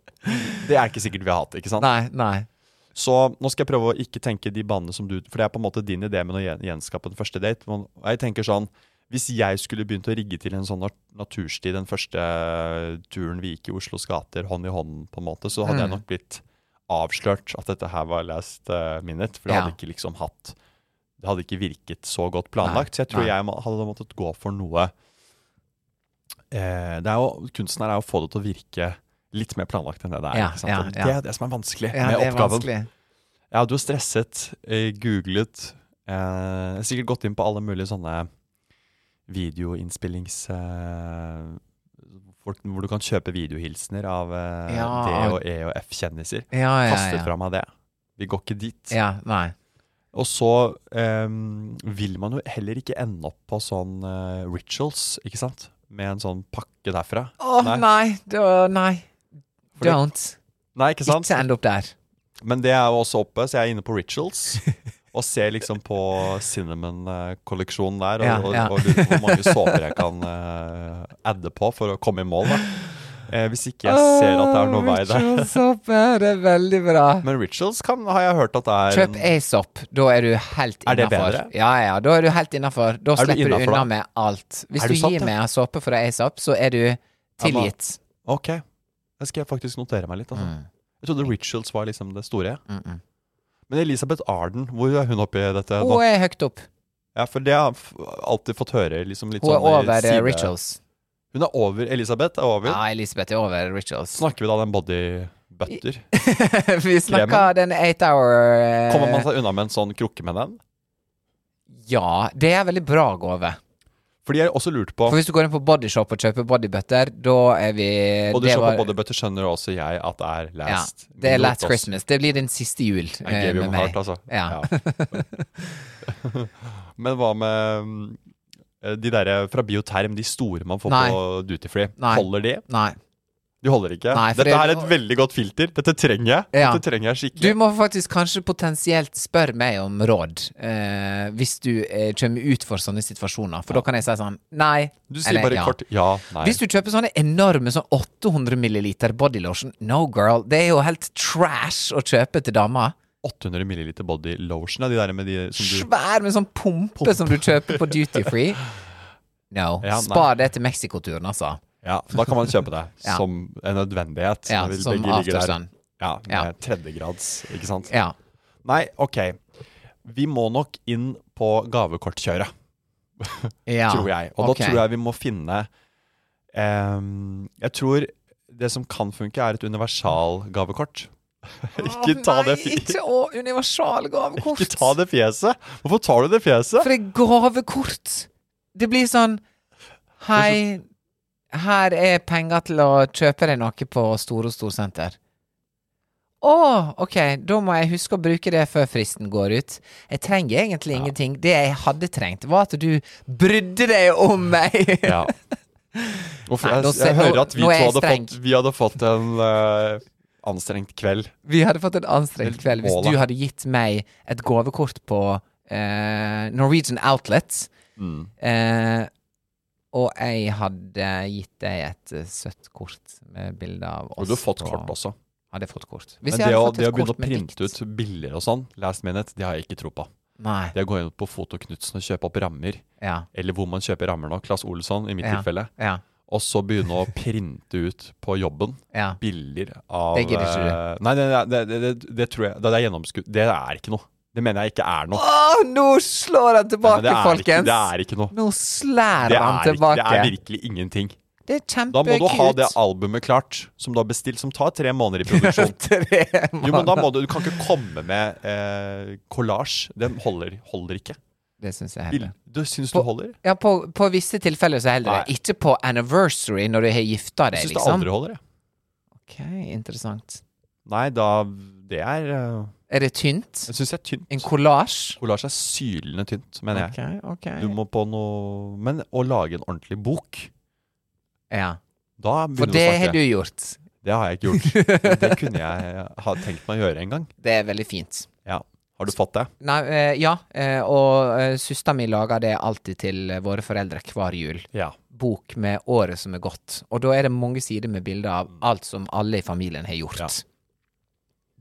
[SPEAKER 2] det er ikke sikkert vi har hatt, ikke sant?
[SPEAKER 3] Nei, nei.
[SPEAKER 2] Så nå skal jeg prøve å ikke tenke de banene som du For det er på en måte din idé med å gjen- gjenskape en første date. Men jeg tenker sånn Hvis jeg skulle begynt å rigge til en sånn nat- natursti den første turen vi gikk i Oslos gater, hånd i hånd, på en måte, så
[SPEAKER 3] Mm.
[SPEAKER 2] hadde jeg nok blitt avslørt at dette her var last eh, minute. For det
[SPEAKER 3] Ja.
[SPEAKER 2] hadde ikke liksom hatt Det hadde ikke virket så godt planlagt. Så jeg tror
[SPEAKER 3] Nei.
[SPEAKER 2] jeg må- hadde måttet gå for noe eh, det er jo, Kunsten her er jo å få det til å virke litt mer planlagt enn det det er.
[SPEAKER 3] Ja,
[SPEAKER 2] ikke sant?
[SPEAKER 3] ja,
[SPEAKER 2] Og Det
[SPEAKER 3] ja.
[SPEAKER 2] er det som er vanskelig
[SPEAKER 3] Ja,
[SPEAKER 2] med
[SPEAKER 3] det er
[SPEAKER 2] oppgaven.
[SPEAKER 3] vanskelig.
[SPEAKER 2] Jeg hadde jo stresset, eh, googlet eh, Sikkert gått inn på alle mulige sånne videoinnspillings... Eh, folk, hvor du kan kjøpe videohilsener av eh,
[SPEAKER 3] Ja.
[SPEAKER 2] D og E og F-kjendiser.
[SPEAKER 3] Ja, ja,
[SPEAKER 2] Kastet
[SPEAKER 3] ja.
[SPEAKER 2] fra meg det. Vi går ikke dit.
[SPEAKER 3] ja nei.
[SPEAKER 2] Og så eh, vil man jo heller ikke ende opp på sånn eh, rituals, ikke sant? Med en sånn pakke derfra.
[SPEAKER 3] Å, nei. da- nei.
[SPEAKER 2] Fordi-
[SPEAKER 3] Don't.
[SPEAKER 2] Nei, ikke sant?
[SPEAKER 3] Ikke end opp der.
[SPEAKER 2] Men det er jo også oppe, så jeg er inne på
[SPEAKER 3] (laughs)
[SPEAKER 2] Rituals. Og ser liksom på Cinnamon-kolleksjonen der, og,
[SPEAKER 3] Ja, ja.
[SPEAKER 2] og, og lurer på hvor mange såper jeg kan eh, adde på for å komme i mål. da. Eh, hvis ikke jeg ser at det
[SPEAKER 3] Oh,
[SPEAKER 2] er noe vei der.
[SPEAKER 3] Ritualsoppe, det er veldig bra.
[SPEAKER 2] Men Rituals kan, har jeg hørt at det er
[SPEAKER 3] Kjøp Aesop, da er du helt innafor.
[SPEAKER 2] Er det bedre?
[SPEAKER 3] Ja, ja, da er du helt innafor. Da
[SPEAKER 2] du
[SPEAKER 3] slipper du
[SPEAKER 2] innenfor,
[SPEAKER 3] unna
[SPEAKER 2] da?
[SPEAKER 3] med alt. Hvis
[SPEAKER 2] Er
[SPEAKER 3] du
[SPEAKER 2] du sant,
[SPEAKER 3] gir
[SPEAKER 2] ja?
[SPEAKER 3] meg en såpe fra Aesop, så er du tilgitt.
[SPEAKER 2] Ok, det skal jeg faktisk notere meg litt. Altså. Jeg trodde Rituals var liksom det store.
[SPEAKER 3] Mm -mm.
[SPEAKER 2] Men Elisabeth Arden, hvor er hun oppi dette nå?
[SPEAKER 3] Hun er høyt opp.
[SPEAKER 2] Ja, For det har jeg f- alltid fått høre. liksom litt
[SPEAKER 3] Hun er
[SPEAKER 2] sånn i
[SPEAKER 3] over eh,
[SPEAKER 2] side-
[SPEAKER 3] rituals.
[SPEAKER 2] Hun er over Elisabeth. er over.
[SPEAKER 3] Ja, Elisabeth er over rituals.
[SPEAKER 2] Snakker vi da den body butter?
[SPEAKER 3] (laughs) Vi snakker den eight hour eh,
[SPEAKER 2] Kommer man seg unna med en sånn krukke med den?
[SPEAKER 3] Ja, det er veldig bra gave.
[SPEAKER 2] Fordi jeg har også lurt på
[SPEAKER 3] For hvis du går inn på Bodyshop og kjøper bodybutter, da er vi
[SPEAKER 2] Og du
[SPEAKER 3] det
[SPEAKER 2] ser på
[SPEAKER 3] var-
[SPEAKER 2] bodybutter, skjønner også jeg at det er
[SPEAKER 3] ja,
[SPEAKER 2] last.
[SPEAKER 3] Det er
[SPEAKER 2] minute
[SPEAKER 3] last
[SPEAKER 2] også.
[SPEAKER 3] Christmas. Det blir din siste jul
[SPEAKER 2] I
[SPEAKER 3] eh,
[SPEAKER 2] gave you
[SPEAKER 3] med
[SPEAKER 2] my
[SPEAKER 3] meg.
[SPEAKER 2] heart, altså.
[SPEAKER 3] Ja.
[SPEAKER 2] Ja. (laughs) Men hva med mm, de derre fra Bioterm, de store man får
[SPEAKER 3] Nei.
[SPEAKER 2] på Duty Free?
[SPEAKER 3] Nei.
[SPEAKER 2] Holder de?
[SPEAKER 3] Nei.
[SPEAKER 2] De holder ikke.
[SPEAKER 3] Nei, for
[SPEAKER 2] Dette
[SPEAKER 3] det-
[SPEAKER 2] er et veldig godt filter. Dette trenger jeg.
[SPEAKER 3] Ja.
[SPEAKER 2] Dette trenger jeg
[SPEAKER 3] Du
[SPEAKER 2] skikkelig.
[SPEAKER 3] må faktisk kanskje potensielt spørre meg om råd eh, hvis du eh, kommer ut for sånne situasjoner, for da kan jeg si sånn Nei.
[SPEAKER 2] Du, sier bare kort ja, nei.
[SPEAKER 3] Hvis du kjøper sånne enorme sånn 800 milliliter body lotion, no girl, det er jo helt trash å kjøpe til dama.
[SPEAKER 2] 800 milliliter body lotion, ja, de der med de som du
[SPEAKER 3] Svær med sånn pumpe som du kjøper på duty
[SPEAKER 2] (laughs)
[SPEAKER 3] free. No.
[SPEAKER 2] Ja, nei.
[SPEAKER 3] Spar det til Mexico-turen, altså.
[SPEAKER 2] Ja, da kan man kjøpe det
[SPEAKER 3] Ja.
[SPEAKER 2] som en nødvendighet.
[SPEAKER 3] Ja,
[SPEAKER 2] når vi
[SPEAKER 3] som
[SPEAKER 2] begge ligger der.
[SPEAKER 3] aftersun.
[SPEAKER 2] Ja, med
[SPEAKER 3] Ja.
[SPEAKER 2] tredjegrads, ikke sant?
[SPEAKER 3] Ja.
[SPEAKER 2] Nei, ok. Vi må nok inn på gavekortkjøret,
[SPEAKER 3] ja.
[SPEAKER 2] tror jeg. Og
[SPEAKER 3] ok.
[SPEAKER 2] da tror jeg vi må finne ehm, Jeg tror det som kan funke, er et universalgavekort. ikke ta det
[SPEAKER 3] Nei,
[SPEAKER 2] fjeset.
[SPEAKER 3] ikke å universal gavekort.
[SPEAKER 2] Ikke ta det fjeset! Hvorfor tar du det fjeset?
[SPEAKER 3] (laughs) For et gavekort! Det blir sånn Hei, her er penger til å kjøpe deg noe på Store Storsenter. Å, ok, da må jeg huske å bruke det før fristen går ut. Jeg trenger egentlig ingenting. Det jeg hadde trengt, var at du brydde deg om meg!
[SPEAKER 2] Ja. Hvorfor,
[SPEAKER 3] Nei,
[SPEAKER 2] jeg,
[SPEAKER 3] nå
[SPEAKER 2] jeg,
[SPEAKER 3] ser- nå-
[SPEAKER 2] hører at vi
[SPEAKER 3] nå
[SPEAKER 2] to
[SPEAKER 3] er jeg
[SPEAKER 2] hadde
[SPEAKER 3] streng.
[SPEAKER 2] fått, vi hadde fått en eh, anstrengt kveld.
[SPEAKER 3] (laughs) Vi hadde fått en anstrengt
[SPEAKER 2] Helt
[SPEAKER 3] kveld hvis
[SPEAKER 2] målet.
[SPEAKER 3] du hadde gitt meg et gavekort på eh, Norwegian Outlet. Eh, og jeg hadde gitt deg et eh, søtt kort med bilde av oss.
[SPEAKER 2] Og du har fått
[SPEAKER 3] på-
[SPEAKER 2] kort også.
[SPEAKER 3] Hadde jeg fått kort.
[SPEAKER 2] Men
[SPEAKER 3] Hvis
[SPEAKER 2] det
[SPEAKER 3] jeg
[SPEAKER 2] å,
[SPEAKER 3] hadde fått
[SPEAKER 2] det å
[SPEAKER 3] et
[SPEAKER 2] begynne
[SPEAKER 3] kort
[SPEAKER 2] å
[SPEAKER 3] med
[SPEAKER 2] printe
[SPEAKER 3] dikt
[SPEAKER 2] ut bilder og sånn, last minute, det har jeg ikke tro på.
[SPEAKER 3] Nei.
[SPEAKER 2] Det å gå inn på Fotoknutsen og kjøpe opp rammer,
[SPEAKER 3] Ja.
[SPEAKER 2] eller hvor man kjøper rammer nå, Claes Olsson i mitt
[SPEAKER 3] Ja.
[SPEAKER 2] tilfelle,
[SPEAKER 3] Ja.
[SPEAKER 2] og så begynne å printe ut på jobben
[SPEAKER 3] ja.
[SPEAKER 2] bilder av
[SPEAKER 3] Det gidder ikke du.
[SPEAKER 2] eh, Nei, det, det, det, det, det tror jeg Det er gjennomskudd. Det er ikke noe. Det mener jeg ikke er noe.
[SPEAKER 3] Å, nå slår han
[SPEAKER 2] Nei, men
[SPEAKER 3] tilbake,
[SPEAKER 2] det, er ikke,
[SPEAKER 3] folkens!
[SPEAKER 2] det er ikke noe.
[SPEAKER 3] Nå slår
[SPEAKER 2] Det
[SPEAKER 3] han
[SPEAKER 2] er, ikke, det
[SPEAKER 3] tilbake.
[SPEAKER 2] er virkelig ingenting.
[SPEAKER 3] Det er kjempekult.
[SPEAKER 2] Da må du ha
[SPEAKER 3] (laughs)
[SPEAKER 2] det albumet klart som du har bestilt, som tar tre måneder i
[SPEAKER 3] (laughs)
[SPEAKER 2] produksjon.
[SPEAKER 3] Tre
[SPEAKER 2] Jo, men da må du, du kan ikke komme med eh, collage. Det holder, holder ikke.
[SPEAKER 3] Det syns jeg heller.
[SPEAKER 2] Bil- Du syns du holder?
[SPEAKER 3] Ja, på, på visse tilfeller så holder
[SPEAKER 2] Nei.
[SPEAKER 3] det. Ikke på anniversary, når du har gifta
[SPEAKER 2] Jeg
[SPEAKER 3] deg,
[SPEAKER 2] syns det
[SPEAKER 3] liksom.
[SPEAKER 2] aldri holder, jeg.
[SPEAKER 3] Ok, interessant.
[SPEAKER 2] Nei, da Det er eh,
[SPEAKER 3] Er det tynt?
[SPEAKER 2] Jeg syns det er tynt.
[SPEAKER 3] En kollasj?
[SPEAKER 2] Kollasj er sylende tynt, mener jeg.
[SPEAKER 3] ok.
[SPEAKER 2] Du må på noe Men å lage en ordentlig bok,
[SPEAKER 3] Ja.
[SPEAKER 2] da
[SPEAKER 3] For
[SPEAKER 2] begynner vi
[SPEAKER 3] det
[SPEAKER 2] å
[SPEAKER 3] har du
[SPEAKER 2] snakke.
[SPEAKER 3] gjort.
[SPEAKER 2] Det har jeg ikke gjort. Men det kunne jeg ha tenkt meg å gjøre en gang.
[SPEAKER 3] Det er veldig fint.
[SPEAKER 2] Ja. Har du fått det?
[SPEAKER 3] Nei, eh, ja, eh, og eh, søster mi lager det alltid til eh, våre foreldre hver jul.
[SPEAKER 2] Ja.
[SPEAKER 3] Bok med året som er gått. Og da er det mange sider med bilder av alt som alle i familien har gjort.
[SPEAKER 2] Ja. Mm.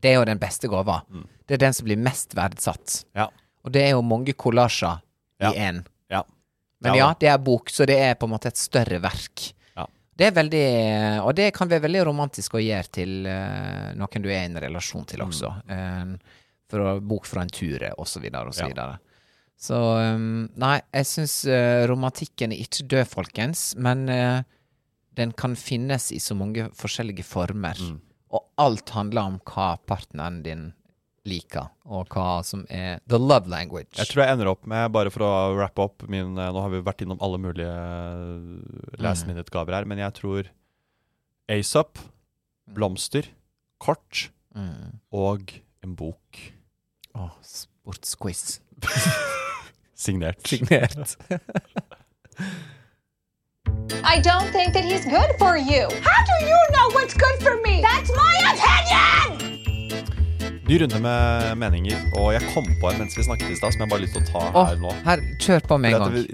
[SPEAKER 3] Det er jo den beste gåva. Det er den som blir mest verdsatt.
[SPEAKER 2] Ja.
[SPEAKER 3] Og det er jo mange kollasjer
[SPEAKER 2] Ja.
[SPEAKER 3] i én.
[SPEAKER 2] ja.
[SPEAKER 3] Men ja, det er bok, så det er på en måte et større verk.
[SPEAKER 2] Ja.
[SPEAKER 3] Det er veldig, og det kan være veldig romantisk å gjøre til eh, noen du er i en relasjon
[SPEAKER 2] Mm.
[SPEAKER 3] til også. Eh, for å bok fra en tur, og så videre, og så
[SPEAKER 2] Ja.
[SPEAKER 3] videre. Så eh, nei, jeg syns eh, romantikken er ikke død, folkens, men eh, den kan finnes i så mange forskjellige former.
[SPEAKER 2] Mm.
[SPEAKER 3] Og alt handler om hva partneren din liker, og hva som er the love language.
[SPEAKER 2] Jeg tror jeg ender opp med, bare for å wrappe opp min eh, Nå har vi vært innom alle mulige eh, last minute-gaver her, men jeg tror ASAP, blomster, kort
[SPEAKER 3] mm.
[SPEAKER 2] og en bok
[SPEAKER 3] Åh, sportsquiz.
[SPEAKER 2] signert.
[SPEAKER 3] Signert.
[SPEAKER 5] I don't think that he's good for you. How do you know what's good for me? That's my opinion!
[SPEAKER 2] Ny runde med meninger, og jeg kom på en mens vi snakket i stad, som jeg bare har lyst til å ta
[SPEAKER 3] Åh,
[SPEAKER 2] her nå.
[SPEAKER 3] her, kjør på med en
[SPEAKER 2] Fordi
[SPEAKER 3] gang.
[SPEAKER 2] at vi-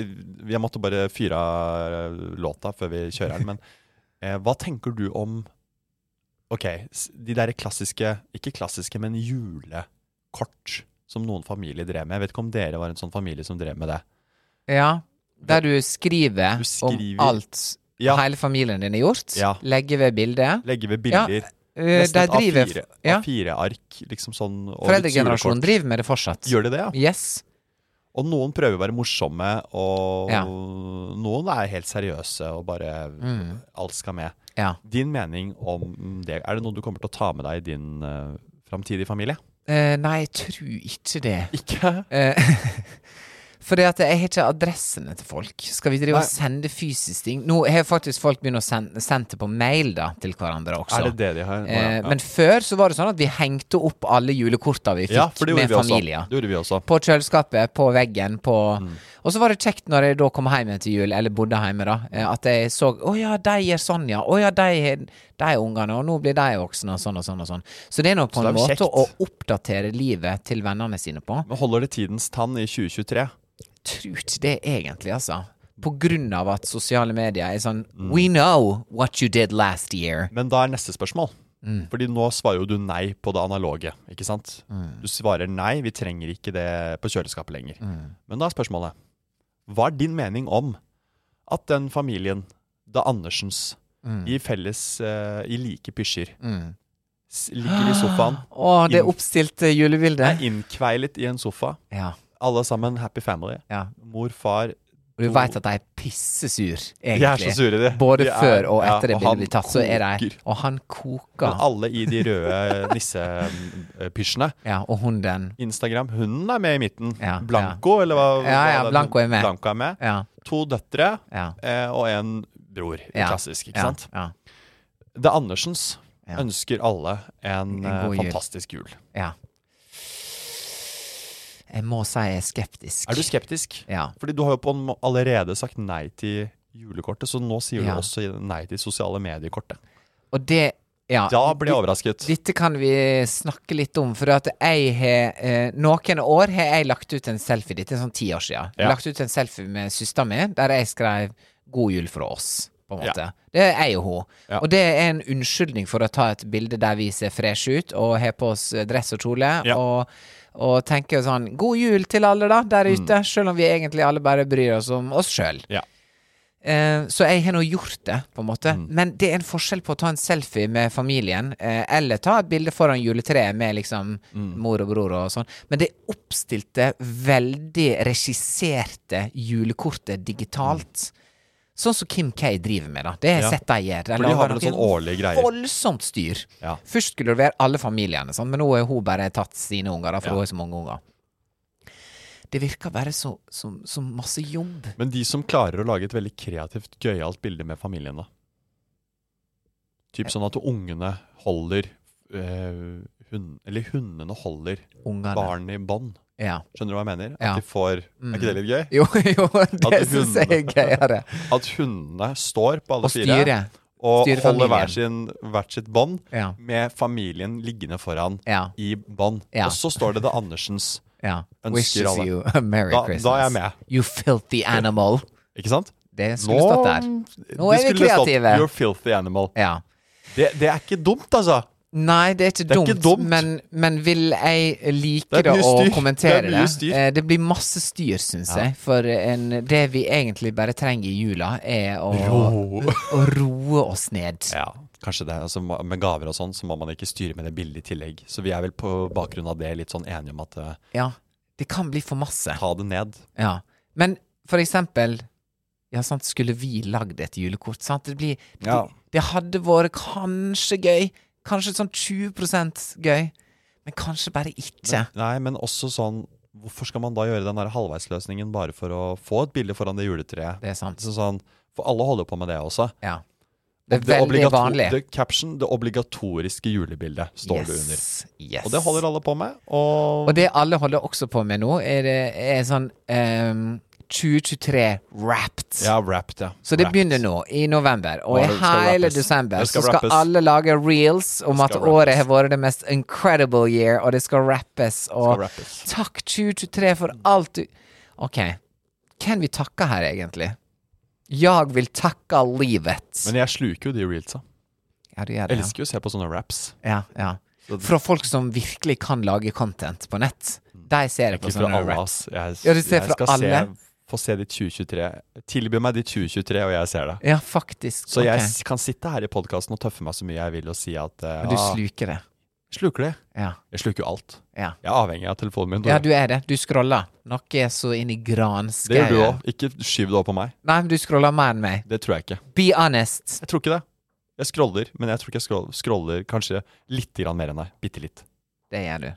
[SPEAKER 2] Jeg måtte bare fyre av eh, låta før vi kjører den, men (laughs) eh, hva tenker du om Ok, s- de derre klassiske Ikke klassiske, men julekort som noen familier drev med. Jeg vet ikke om dere var en sånn familie som drev med det.
[SPEAKER 3] Ja, der du skriver,
[SPEAKER 2] Du skriver-
[SPEAKER 3] om alt
[SPEAKER 2] Ja.
[SPEAKER 3] hele familien din har gjort.
[SPEAKER 2] Ja.
[SPEAKER 3] Legger ved bildet.
[SPEAKER 2] Legge ved bilder.
[SPEAKER 3] Ja, eh,
[SPEAKER 2] nesten
[SPEAKER 3] der
[SPEAKER 2] et
[SPEAKER 3] driver-
[SPEAKER 2] A4
[SPEAKER 3] ja.
[SPEAKER 2] A4-ark, liksom sånn. og litt
[SPEAKER 3] Foreldregenerasjonen
[SPEAKER 2] julekort.
[SPEAKER 3] driver med det fortsatt.
[SPEAKER 2] Gjør de det, ja?
[SPEAKER 3] Yes.
[SPEAKER 2] Og noen prøver å være morsomme, og
[SPEAKER 3] Ja.
[SPEAKER 2] noen er helt seriøse og bare
[SPEAKER 3] Mm.
[SPEAKER 2] Alt skal med.
[SPEAKER 3] Ja.
[SPEAKER 2] Din mening om det, er det noe du kommer til å ta med deg i din uh, framtidige familie? Eh,
[SPEAKER 3] Eh, nei, jeg tror ikke det.
[SPEAKER 2] Ikke?
[SPEAKER 3] Fordi at jeg har ikke adressene til folk. Skal vi drive og
[SPEAKER 2] Nei.
[SPEAKER 3] sende fysisk ting? Nå har faktisk folk begynt å sende, sende det på mail da, til hverandre også.
[SPEAKER 2] Er det det de har? Å,
[SPEAKER 3] Eh,
[SPEAKER 2] ja, ja.
[SPEAKER 3] Men før så var det sånn at vi hengte opp alle julekorta vi fikk
[SPEAKER 2] ja, for det gjorde
[SPEAKER 3] med
[SPEAKER 2] vi også.
[SPEAKER 3] familier.
[SPEAKER 2] Det gjorde vi også.
[SPEAKER 3] På kjøleskapet, på veggen, på
[SPEAKER 2] Mm.
[SPEAKER 3] Og så var det kjekt når jeg da kom hjem igjen til jul, eller bodde hjemme, da, eh, at jeg så Å ja, de gjør sånn, ja. Å ja, de har de ungene, og nå blir de voksne, og sånn og sånn og sånn. Så det er nok
[SPEAKER 2] Så
[SPEAKER 3] på en
[SPEAKER 2] det er
[SPEAKER 3] måte
[SPEAKER 2] jo
[SPEAKER 3] å
[SPEAKER 2] kjekt.
[SPEAKER 3] oppdatere livet til vennene sine på.
[SPEAKER 2] Men holder det tidens tann i 2023?
[SPEAKER 3] Tror ikke det egentlig, altså. På grunn av at sosiale medier er sånn
[SPEAKER 2] Mm.
[SPEAKER 3] We know what you did last year.
[SPEAKER 2] Men da er neste spørsmål.
[SPEAKER 3] Mm.
[SPEAKER 2] Fordi nå svarer jo du nei på det analoge, ikke sant?
[SPEAKER 3] Mm.
[SPEAKER 2] Du svarer nei, vi trenger ikke det på kjøleskapet lenger.
[SPEAKER 3] Mm.
[SPEAKER 2] Men da er spørsmålet, hva er din mening om at den familien, da Andersens,
[SPEAKER 3] Mm.
[SPEAKER 2] i felles, eh, i like pysjer, s- ligger i sofaen,
[SPEAKER 3] (gasps) Å, det
[SPEAKER 2] Inn-
[SPEAKER 3] oppstilte julebildet.
[SPEAKER 2] er innkveilet i en sofa,
[SPEAKER 3] Ja.
[SPEAKER 2] alle sammen happy family,
[SPEAKER 3] ja.
[SPEAKER 2] mor, far,
[SPEAKER 3] Og du veit at de er pissesur, egentlig.
[SPEAKER 2] De er så sure, de.
[SPEAKER 3] Både
[SPEAKER 2] De er-
[SPEAKER 3] før og
[SPEAKER 2] ja,
[SPEAKER 3] etter det
[SPEAKER 2] og
[SPEAKER 3] bildet
[SPEAKER 2] han
[SPEAKER 3] blir tatt, så er de
[SPEAKER 2] koker.
[SPEAKER 3] Og han
[SPEAKER 2] men
[SPEAKER 3] koker.
[SPEAKER 2] alle i de røde nissepysjene,
[SPEAKER 3] Ja, og hunden.
[SPEAKER 2] Instagram, hunden er med i midten.
[SPEAKER 3] Ja,
[SPEAKER 2] Blanco, eller hva?
[SPEAKER 3] Ja,
[SPEAKER 2] hva
[SPEAKER 3] ja,
[SPEAKER 2] det-
[SPEAKER 3] Blanco er med.
[SPEAKER 2] Blanco er med.
[SPEAKER 3] Ja.
[SPEAKER 2] To døtre
[SPEAKER 3] Ja.
[SPEAKER 2] eh, og en bror. Klassisk, ikke
[SPEAKER 3] ja,
[SPEAKER 2] sant?
[SPEAKER 3] Ja.
[SPEAKER 2] Det Andersens
[SPEAKER 3] Ja.
[SPEAKER 2] ønsker alle en,
[SPEAKER 3] En
[SPEAKER 2] eh,
[SPEAKER 3] god jul.
[SPEAKER 2] fantastisk jul.
[SPEAKER 3] ja. Jeg må si jeg er skeptisk.
[SPEAKER 2] Er du skeptisk?
[SPEAKER 3] Ja.
[SPEAKER 2] Fordi du har jo på en må allerede sagt nei til julekortet, så nå sier
[SPEAKER 3] Ja.
[SPEAKER 2] du også nei til sosiale mediekortet.
[SPEAKER 3] Og det ja,
[SPEAKER 2] Da blir jeg
[SPEAKER 3] di-
[SPEAKER 2] overrasket.
[SPEAKER 3] Dette kan vi snakke litt om, for at jeg har eh, Noen år har jeg lagt ut en selfie, dette er sånn ti år siden. Jeg har
[SPEAKER 2] Ja.
[SPEAKER 3] Lagt ut en selfie med søsteren min, der jeg skrev 'God jul fra oss', på en
[SPEAKER 2] Ja.
[SPEAKER 3] måte. Det er jeg og hun.
[SPEAKER 2] Ja.
[SPEAKER 3] Og det er en unnskyldning for å ta et bilde der vi ser fresh ut, og har på oss eh, dress og kjole,
[SPEAKER 2] Ja.
[SPEAKER 3] og, og tenker sånn 'God jul til alle, da, der
[SPEAKER 2] Mm.
[SPEAKER 3] ute', selv om vi egentlig alle bare bryr oss om oss sjøl.
[SPEAKER 2] Ja.
[SPEAKER 3] Eh, så jeg har nå gjort det, på en måte.
[SPEAKER 2] Mm.
[SPEAKER 3] Men det er en forskjell på å ta en selfie med familien, eh, eller ta et bilde foran juletreet med liksom
[SPEAKER 2] Mm.
[SPEAKER 3] mor og bror og sånn. Men det oppstilte, veldig regisserte julekortet digitalt. Sånn som Kim K driver med, da. Det har jeg
[SPEAKER 2] Ja.
[SPEAKER 3] sett de gjør.
[SPEAKER 2] For de
[SPEAKER 3] lager
[SPEAKER 2] har vel en
[SPEAKER 3] noen
[SPEAKER 2] sånn årlig greie.
[SPEAKER 3] Voldsomt styr.
[SPEAKER 2] Ja.
[SPEAKER 3] Først skulle det være alle familiene, sant? men nå har hun bare tatt sine unger, da, for hun har så mange unger. Det virker bare så, så, så masse jobb.
[SPEAKER 2] Men de som klarer å lage et veldig kreativt, gøyalt bilde med familien, da? Typ sånn at ungene holder eh, hun, eller hundene holder
[SPEAKER 3] Ungene.
[SPEAKER 2] barn i bånd.
[SPEAKER 3] Ja.
[SPEAKER 2] Skjønner du hva jeg mener? At
[SPEAKER 3] Ja. Mm.
[SPEAKER 2] de får Er ikke det litt gøy?
[SPEAKER 3] Jo, (laughs) jo, det
[SPEAKER 2] At
[SPEAKER 3] syns jeg er
[SPEAKER 2] hundene-
[SPEAKER 3] gøyere.
[SPEAKER 2] At hundene står på alle
[SPEAKER 3] Og styre.
[SPEAKER 2] fire og
[SPEAKER 3] Styre
[SPEAKER 2] holder
[SPEAKER 3] familien.
[SPEAKER 2] hver sin, hvert sitt bånd,
[SPEAKER 3] Ja.
[SPEAKER 2] med familien liggende foran
[SPEAKER 3] Ja.
[SPEAKER 2] i bånd.
[SPEAKER 3] Ja.
[SPEAKER 2] Og så står det det Andersens.
[SPEAKER 3] Ja.
[SPEAKER 2] Ønsker
[SPEAKER 3] Wishes
[SPEAKER 2] alle.
[SPEAKER 3] you a merry
[SPEAKER 2] Da- da er
[SPEAKER 3] Christmas.
[SPEAKER 2] jeg med.
[SPEAKER 3] You filthy animal.
[SPEAKER 2] Ikke sant?
[SPEAKER 3] Det skulle stått der. Nå
[SPEAKER 2] det
[SPEAKER 3] er vi
[SPEAKER 2] skulle stått,
[SPEAKER 3] kreative.
[SPEAKER 2] You're filthy animal.
[SPEAKER 3] Ja.
[SPEAKER 2] Det, det er ikke dumt, altså.
[SPEAKER 3] Nei, det er ikke
[SPEAKER 2] er
[SPEAKER 3] dumt,
[SPEAKER 2] ikke dumt.
[SPEAKER 3] Men, men vil jeg like
[SPEAKER 2] Det
[SPEAKER 3] det,
[SPEAKER 2] er mye
[SPEAKER 3] å
[SPEAKER 2] styr.
[SPEAKER 3] kommentere
[SPEAKER 2] Det
[SPEAKER 3] det?
[SPEAKER 2] er mye styr.
[SPEAKER 3] Eh, Det blir masse styr, syns jeg. For en, det vi egentlig bare trenger i jula, er å, å roe oss ned.
[SPEAKER 2] Ja, kanskje det. Altså, ma- med gaver og sånn, så må man ikke styre med det bildet i tillegg. Så vi er vel på bakgrunn av det litt sånn enige om at eh,
[SPEAKER 3] Ja. Det kan bli for masse.
[SPEAKER 2] ta det ned.
[SPEAKER 3] Ja. Men for eksempel Ja, sant, skulle vi lagd et julekort, sant? Det blir det,
[SPEAKER 2] Ja.
[SPEAKER 3] det hadde vært kanskje gøy. Kanskje sånn 20 gøy. Men kanskje bare ikke.
[SPEAKER 2] Nei, men også sånn Hvorfor skal man da gjøre den der halvveisløsningen bare for å få et bilde foran det juletreet?
[SPEAKER 3] Det er sant.
[SPEAKER 2] Så sånn, for alle holder på med det også.
[SPEAKER 3] Ja. Det er
[SPEAKER 2] Det
[SPEAKER 3] veldig
[SPEAKER 2] obligato-
[SPEAKER 3] vanlig.
[SPEAKER 2] Det, caption, det obligatoriske julebildet, står det under.
[SPEAKER 3] yes. Yes.
[SPEAKER 2] Og det holder alle på med. Og,
[SPEAKER 3] Og det alle holder også på med nå, er, det- er sånn ehm, 2023 wrapped.
[SPEAKER 2] Ja, wrapped, ja.
[SPEAKER 3] Så det
[SPEAKER 2] Wrapped.
[SPEAKER 3] begynner nå, i november. Og
[SPEAKER 2] Ja,
[SPEAKER 3] i
[SPEAKER 2] det skal
[SPEAKER 3] hele
[SPEAKER 2] rappes.
[SPEAKER 3] desember
[SPEAKER 2] Det
[SPEAKER 3] så
[SPEAKER 2] skal
[SPEAKER 3] skal
[SPEAKER 2] rappes.
[SPEAKER 3] alle lage reels om at
[SPEAKER 2] skal
[SPEAKER 3] året
[SPEAKER 2] rappes.
[SPEAKER 3] har vært det mest incredible year, og det skal rappes. Og
[SPEAKER 2] Skal rappes.
[SPEAKER 3] takk 2023 for alt du Ok, hvem vi takker her, egentlig? Jeg vil takke livet.
[SPEAKER 2] Men jeg sluker jo de reelsa.
[SPEAKER 3] ja, du gjør
[SPEAKER 2] Jeg
[SPEAKER 3] det, ja.
[SPEAKER 2] elsker jo å se på sånne raps.
[SPEAKER 3] ja, ja. Fra folk som virkelig kan lage content på nett. De ser det på
[SPEAKER 2] Ikke fra
[SPEAKER 3] sånne
[SPEAKER 2] alle,
[SPEAKER 3] raps.
[SPEAKER 2] ass. Jeg,
[SPEAKER 3] Ja, du ser fra
[SPEAKER 2] skal
[SPEAKER 3] alle.
[SPEAKER 2] Se, få se de 2023. Tilby meg de 2023, og jeg ser det.
[SPEAKER 3] Ja, faktisk.
[SPEAKER 2] Så
[SPEAKER 3] Ok.
[SPEAKER 2] jeg s- kan sitte her i podkasten og tøffe meg så mye jeg vil og si at eh,
[SPEAKER 3] Men du
[SPEAKER 2] ah,
[SPEAKER 3] sluker det.
[SPEAKER 2] sluker det.
[SPEAKER 3] Ja.
[SPEAKER 2] Jeg sluker jo alt.
[SPEAKER 3] Ja.
[SPEAKER 2] Jeg er avhengig av telefonen min.
[SPEAKER 3] Ja,
[SPEAKER 2] Tore.
[SPEAKER 3] du er det. Du scroller. Noe er så inn i granskauen.
[SPEAKER 2] det gjør du òg. Ikke skyv det over på meg.
[SPEAKER 3] Nei, men du scroller mer enn meg.
[SPEAKER 2] Det tror jeg ikke.
[SPEAKER 3] Be honest.
[SPEAKER 2] Jeg tror ikke det. Jeg scroller, men jeg tror ikke jeg scroll- scroller kanskje litt grann mer enn deg. Bitte litt.
[SPEAKER 3] Det gjør du.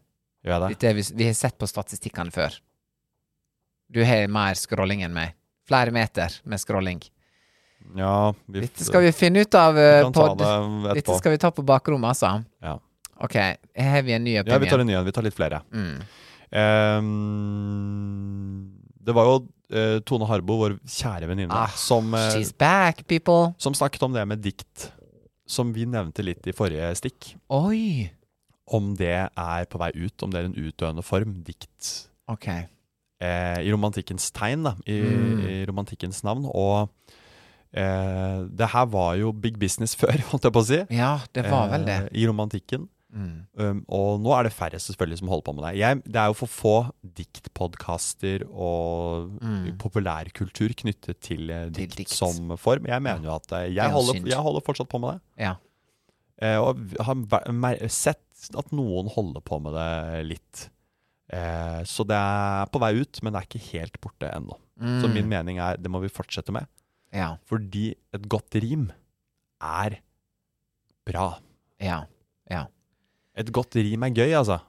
[SPEAKER 2] Gjør jeg det?
[SPEAKER 3] Dette er vi, vi har sett på statistikkene før. Du har mer scrolling enn meg. Flere meter med scrolling.
[SPEAKER 2] Ja, vi,
[SPEAKER 3] Dette skal vi finne ut av eh,
[SPEAKER 2] kan ta
[SPEAKER 3] pod.
[SPEAKER 2] det
[SPEAKER 3] Dette
[SPEAKER 2] etterpå.
[SPEAKER 3] skal vi ta på bakrommet, altså.
[SPEAKER 2] Ja.
[SPEAKER 3] Ok, her har vi en ny
[SPEAKER 2] Ja, vi tar
[SPEAKER 3] opinion.
[SPEAKER 2] en ny en. Vi tar litt flere.
[SPEAKER 3] Mm.
[SPEAKER 2] Ehm, det var jo eh, Tone Harbo, vår kjære venninne,
[SPEAKER 3] Ah,
[SPEAKER 2] som, eh,
[SPEAKER 3] She's back, people.
[SPEAKER 2] som snakket om det med dikt. Som vi nevnte litt i forrige stikk.
[SPEAKER 3] Oi.
[SPEAKER 2] Om det er på vei ut, om det er en utdøende form. Dikt
[SPEAKER 3] Ok.
[SPEAKER 2] eh, i romantikkens tegn, da. I,
[SPEAKER 3] Mm.
[SPEAKER 2] i romantikkens navn. Og eh, det her var jo big business (laughs) før, holdt jeg på å si.
[SPEAKER 3] Ja, det var vel det. Mm.
[SPEAKER 2] eh, I romantikken. Um, og nå er det færre selvfølgelig som holder på med det. Jeg, det er jo for få diktpodkaster og populærkultur knyttet til, eh,
[SPEAKER 3] Mm. Til
[SPEAKER 2] dikt,
[SPEAKER 3] dikt.
[SPEAKER 2] som form. Jeg mener jo at eh,
[SPEAKER 3] er jo
[SPEAKER 2] jeg holder,
[SPEAKER 3] synd.
[SPEAKER 2] jeg holder fortsatt på med det.
[SPEAKER 3] Ja.
[SPEAKER 2] Eh, og v- har ver- mer- sett at noen holder på med det litt. Eh, så det er på vei ut, men det er ikke helt borte ennå.
[SPEAKER 3] Mm.
[SPEAKER 2] Så min mening er det må vi fortsette med.
[SPEAKER 3] Ja.
[SPEAKER 2] Fordi et godt rim er bra.
[SPEAKER 3] Ja. Ja.
[SPEAKER 2] Et godt rim er gøy, altså.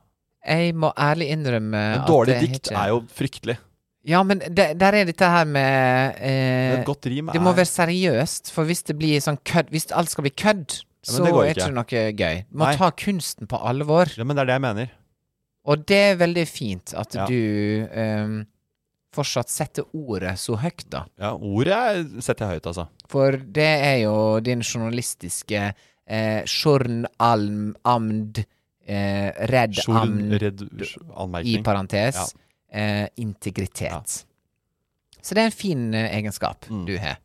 [SPEAKER 3] Jeg må ærlig innrømme
[SPEAKER 2] En
[SPEAKER 3] at
[SPEAKER 2] dårlig
[SPEAKER 3] jeg har
[SPEAKER 2] dikt
[SPEAKER 3] ikke-
[SPEAKER 2] er jo fryktelig.
[SPEAKER 3] Ja, men det, der er dette her med
[SPEAKER 2] Men
[SPEAKER 3] eh,
[SPEAKER 2] et godt rim er
[SPEAKER 3] Det må være seriøst, for hvis det blir sånn kødd Hvis alt skal bli kødd,
[SPEAKER 2] men
[SPEAKER 3] så
[SPEAKER 2] det går
[SPEAKER 3] er
[SPEAKER 2] ikke.
[SPEAKER 3] ikke det noe gøy. Du må
[SPEAKER 2] Nei.
[SPEAKER 3] ta kunsten på alvor.
[SPEAKER 2] ja, Men det er det jeg mener.
[SPEAKER 3] Og det er veldig fint at
[SPEAKER 2] Ja.
[SPEAKER 3] du ehm, fortsatt setter ordet så høyt, da.
[SPEAKER 2] Ja, Ordet er- setter jeg høyt, altså.
[SPEAKER 3] For det er jo din journalistiske eh, Journalm Amd eh, Redd
[SPEAKER 2] Sjorden
[SPEAKER 3] Amd
[SPEAKER 2] redd
[SPEAKER 3] i
[SPEAKER 2] anmerkning.
[SPEAKER 3] parentes
[SPEAKER 2] Ja.
[SPEAKER 3] eh, integritet. Så det er en fin eh, egenskap
[SPEAKER 2] Mm.
[SPEAKER 3] du har.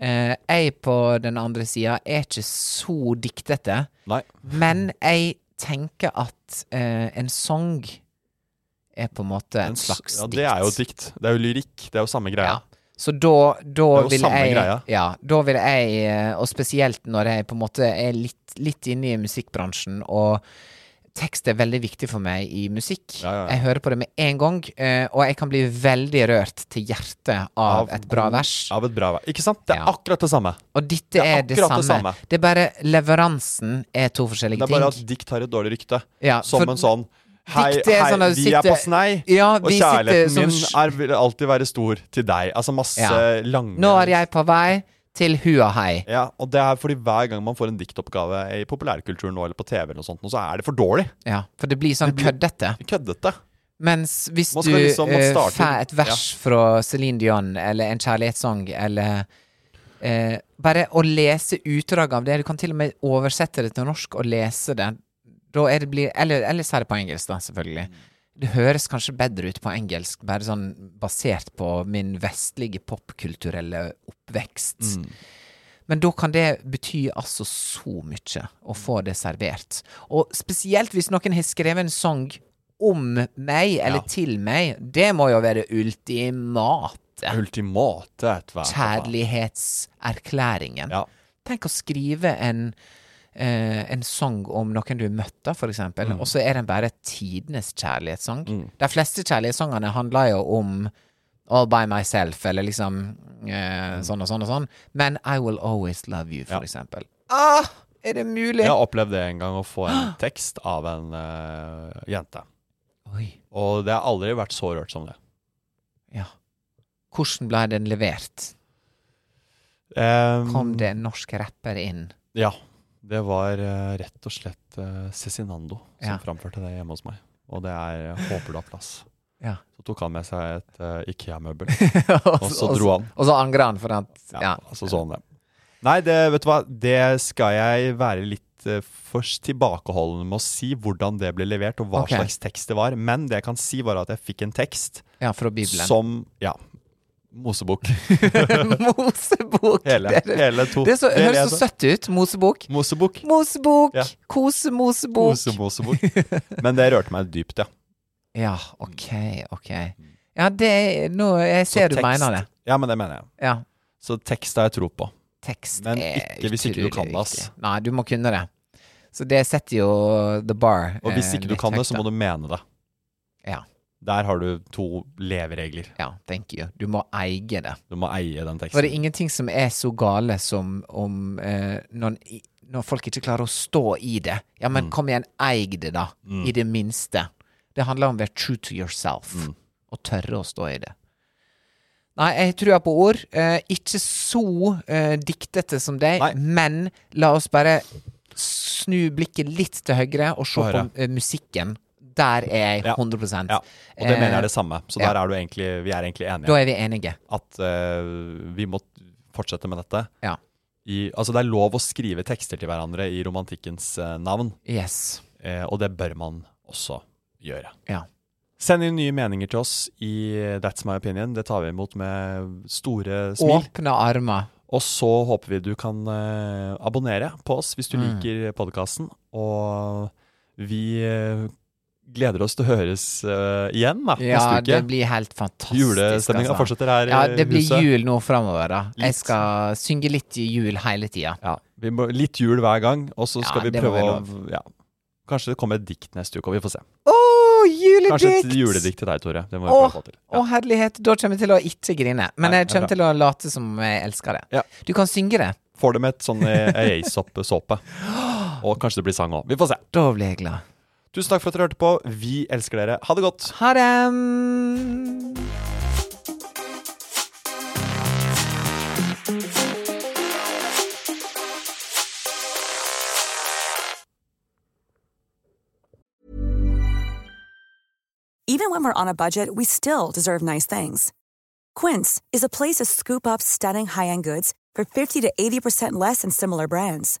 [SPEAKER 3] Eh, jeg på den andre sida er ikke så diktete,
[SPEAKER 2] Nei.
[SPEAKER 3] men jeg tenker at eh, en sang er på en måte
[SPEAKER 2] En
[SPEAKER 3] en
[SPEAKER 2] s-
[SPEAKER 3] slags
[SPEAKER 2] ja,
[SPEAKER 3] dikt.
[SPEAKER 2] det er jo et dikt. Det er jo lyrikk. Det er jo samme greia.
[SPEAKER 3] Ja. Så da, da
[SPEAKER 2] Det er jo
[SPEAKER 3] vil
[SPEAKER 2] samme
[SPEAKER 3] jeg
[SPEAKER 2] greia.
[SPEAKER 3] Ja, da vil jeg, eh, og spesielt når jeg på en måte er litt, litt inne i musikkbransjen, og tekst er veldig viktig for meg i
[SPEAKER 2] Ja,
[SPEAKER 3] musikk.
[SPEAKER 2] ja, ja.
[SPEAKER 3] Jeg hører på det med en gang, eh, og jeg kan bli veldig rørt til hjertet av,
[SPEAKER 2] Av
[SPEAKER 3] et bra
[SPEAKER 2] god-
[SPEAKER 3] vers.
[SPEAKER 2] Av et bra vers. Ikke sant? Det er
[SPEAKER 3] Ja.
[SPEAKER 2] akkurat det samme.
[SPEAKER 3] Og dette
[SPEAKER 2] Det er
[SPEAKER 3] er det
[SPEAKER 2] akkurat
[SPEAKER 3] samme.
[SPEAKER 2] det samme.
[SPEAKER 3] Det er bare leveransen er to forskjellige
[SPEAKER 2] Det er bare at
[SPEAKER 3] ting.
[SPEAKER 2] dikt har et dårlig rykte.
[SPEAKER 3] Ja,
[SPEAKER 2] som
[SPEAKER 3] for
[SPEAKER 2] en sånn Hei,
[SPEAKER 3] dikt er
[SPEAKER 2] hei
[SPEAKER 3] sånn at du
[SPEAKER 2] vi er
[SPEAKER 3] sitter-
[SPEAKER 2] på snei,
[SPEAKER 3] Ja,
[SPEAKER 2] og
[SPEAKER 3] vi sitter
[SPEAKER 2] kjærligheten
[SPEAKER 3] som
[SPEAKER 2] min
[SPEAKER 3] sj-
[SPEAKER 2] er, vil alltid være stor til deg. Altså masse
[SPEAKER 3] Ja.
[SPEAKER 2] lange
[SPEAKER 3] Nå er jeg på vei til hua hei.
[SPEAKER 2] Ja, og det er fordi hver gang man får en diktoppgave i populærkulturen nå, eller på TV, eller noe sånt, nå, så er det for dårlig.
[SPEAKER 3] Ja, for det blir sånn køddete.
[SPEAKER 2] Køddete.
[SPEAKER 3] Mens hvis
[SPEAKER 2] Man
[SPEAKER 3] du
[SPEAKER 2] skal liksom- man
[SPEAKER 3] eh,
[SPEAKER 2] starter-
[SPEAKER 3] får et vers fra Céline Dion, eller en kjærlighetssang, eller eh, Bare å lese utdrag av det, du kan til og med oversette det til norsk og lese det, da er det blir Eller ellers er det på engelsk, da, selvfølgelig.
[SPEAKER 2] Mm.
[SPEAKER 3] Det høres kanskje bedre ut på engelsk, bare sånn basert på min vestlige popkulturelle oppvekst. Men da kan det bety altså så mye å få det servert. Og spesielt hvis noen har skrevet en sang om meg, eller til meg. Det må jo være ultimate
[SPEAKER 2] Ultimate etterhvert.
[SPEAKER 3] kjærlighetserklæringen.
[SPEAKER 2] Ja.
[SPEAKER 3] Tenk å skrive en eh, en sang om noen du møtte, for eksempel,
[SPEAKER 2] Mm.
[SPEAKER 3] og så er den bare tidenes kjærlighetssang. De fleste kjærlighetssangene handler jo om All by myself, eller liksom
[SPEAKER 2] Mm.
[SPEAKER 3] eh, sånn og sånn og sånn. Men I Will Always Love You, for eksempel. Ah, er det mulig?
[SPEAKER 2] Jeg har opplevd det en gang, å få en tekst av en eh, jente.
[SPEAKER 3] Oi,
[SPEAKER 2] Og det har aldri vært så rørt som det.
[SPEAKER 3] ja. Hvordan ble den levert?
[SPEAKER 2] Em,
[SPEAKER 3] Kom det en norsk rapper inn?
[SPEAKER 2] Ja. Det var eh, rett og slett eh, Cezinando som
[SPEAKER 3] Ja.
[SPEAKER 2] framførte det hjemme hos meg. Og det er eh, Håper du har plass.
[SPEAKER 3] Ja.
[SPEAKER 2] Så tok han med seg et eh, Ikea-møbel, (laughs)
[SPEAKER 3] og,
[SPEAKER 2] og så dro han.
[SPEAKER 3] Og så angrer han for at
[SPEAKER 2] Ja,
[SPEAKER 3] ja.
[SPEAKER 2] altså sånn det. Nei, det, vet du hva, det skal jeg være litt eh, først tilbakeholden med å si hvordan det ble levert, og hva
[SPEAKER 3] Ok.
[SPEAKER 2] slags tekst det var. Men det jeg kan si, var at jeg fikk en tekst
[SPEAKER 3] ja, fra Bibelen.
[SPEAKER 2] som Ja. Mosebok.
[SPEAKER 3] (laughs) Mosebok!
[SPEAKER 2] Hele,
[SPEAKER 3] det, er-
[SPEAKER 2] hele to.
[SPEAKER 3] det, er så,
[SPEAKER 2] Det
[SPEAKER 3] høres
[SPEAKER 2] leser.
[SPEAKER 3] så søtt ut. Mosebok.
[SPEAKER 2] Mosebok.
[SPEAKER 3] Mosebok!
[SPEAKER 2] Ja.
[SPEAKER 3] Kosemosebok.
[SPEAKER 2] Kosemosebok. Men det rørte meg dypt, ja.
[SPEAKER 3] Ja, ok, ok. Ja, det er nå, Jeg ser du mener det.
[SPEAKER 2] Ja, men det mener jeg.
[SPEAKER 3] Ja.
[SPEAKER 2] Så tekst har jeg tro på.
[SPEAKER 3] Tekst
[SPEAKER 2] Men
[SPEAKER 3] er
[SPEAKER 2] ikke hvis ikke du
[SPEAKER 3] utrolig
[SPEAKER 2] kan det, ass.
[SPEAKER 3] viktig. Nei, du må kunne det. Så det setter jo the bar.
[SPEAKER 2] Og hvis
[SPEAKER 3] eh,
[SPEAKER 2] ikke du
[SPEAKER 3] litt
[SPEAKER 2] kan det,
[SPEAKER 3] høyt,
[SPEAKER 2] så må
[SPEAKER 3] da.
[SPEAKER 2] du mene det.
[SPEAKER 3] Ja.
[SPEAKER 2] Der har du to leveregler.
[SPEAKER 3] Ja, thank you. Du må eie det.
[SPEAKER 2] Du må eie den
[SPEAKER 3] For det
[SPEAKER 2] teksten.
[SPEAKER 3] er ingenting som er så gale som om eh, når, en i- når folk ikke klarer å stå i det. Ja,
[SPEAKER 2] Mm.
[SPEAKER 3] men kom igjen, eig det, da. I det minste. Det handler om å være true to yourself.
[SPEAKER 2] Mm.
[SPEAKER 3] Og tørre å stå i det. Nei, jeg tror på ord. Eh, ikke så eh, diktete som deg,
[SPEAKER 2] Nei.
[SPEAKER 3] men la oss bare snu blikket litt til høyre og se
[SPEAKER 2] Få
[SPEAKER 3] på
[SPEAKER 2] høre.
[SPEAKER 3] eh, musikken. Der er jeg
[SPEAKER 2] Ja.
[SPEAKER 3] 100
[SPEAKER 2] Ja. Og det mener jeg
[SPEAKER 3] Eh,
[SPEAKER 2] er det samme. Så
[SPEAKER 3] ja.
[SPEAKER 2] der er du egentlig, vi er egentlig enige.
[SPEAKER 3] Da er vi enige.
[SPEAKER 2] At eh, vi må fortsette med dette.
[SPEAKER 3] Ja.
[SPEAKER 2] I, altså det er lov å skrive tekster til hverandre i romantikkens eh, navn,
[SPEAKER 3] Yes.
[SPEAKER 2] eh, og det bør man også gjøre.
[SPEAKER 3] Ja.
[SPEAKER 2] Send inn nye meninger til oss i eh, That's My Opinion. Det tar vi imot med store smil.
[SPEAKER 3] Åpne armer.
[SPEAKER 2] Og så håper vi du kan eh, abonnere på oss hvis du
[SPEAKER 3] Mm.
[SPEAKER 2] liker podkasten. Og vi eh, gleder oss til å høres eh, igjen da,
[SPEAKER 3] Ja,
[SPEAKER 2] neste
[SPEAKER 3] det
[SPEAKER 2] uke.
[SPEAKER 3] blir helt fantastisk. altså.
[SPEAKER 2] Julestemninga fortsetter her
[SPEAKER 3] Ja,
[SPEAKER 2] i
[SPEAKER 3] det blir
[SPEAKER 2] huset.
[SPEAKER 3] jul nå framover, da.
[SPEAKER 2] Litt.
[SPEAKER 3] Jeg skal synge litt i jul hele tida.
[SPEAKER 2] Ja, vi må, litt jul hver gang, og så skal
[SPEAKER 3] Ja,
[SPEAKER 2] vi
[SPEAKER 3] det må
[SPEAKER 2] prøve
[SPEAKER 3] være
[SPEAKER 2] å ja. Kanskje det kommer et dikt neste uke, og vi får se.
[SPEAKER 3] Å,
[SPEAKER 2] Kanskje
[SPEAKER 3] juledikt!
[SPEAKER 2] et juledikt til deg, Tore. Det må vi
[SPEAKER 3] Å,
[SPEAKER 2] prøve å få til.
[SPEAKER 3] å, herlighet. Da kommer jeg til å ikke grine.
[SPEAKER 2] Nei,
[SPEAKER 3] Men jeg
[SPEAKER 2] det er
[SPEAKER 3] kommer til å late som jeg elsker det.
[SPEAKER 2] Ja.
[SPEAKER 3] Du kan synge det.
[SPEAKER 2] Får det med et sånn
[SPEAKER 3] (laughs)
[SPEAKER 2] Aesop-såpe. Og kanskje det blir sang òg. Vi får se.
[SPEAKER 3] Da blir jeg glad.
[SPEAKER 2] Tusen takk for at dere hørte på. Vi elsker dere. Ha det godt.
[SPEAKER 3] Ha det!
[SPEAKER 6] Even when we're on a budget, we still deserve nice things. Quince is a place to scoop up stunning high end goods for 50 to 80% less than similar brands.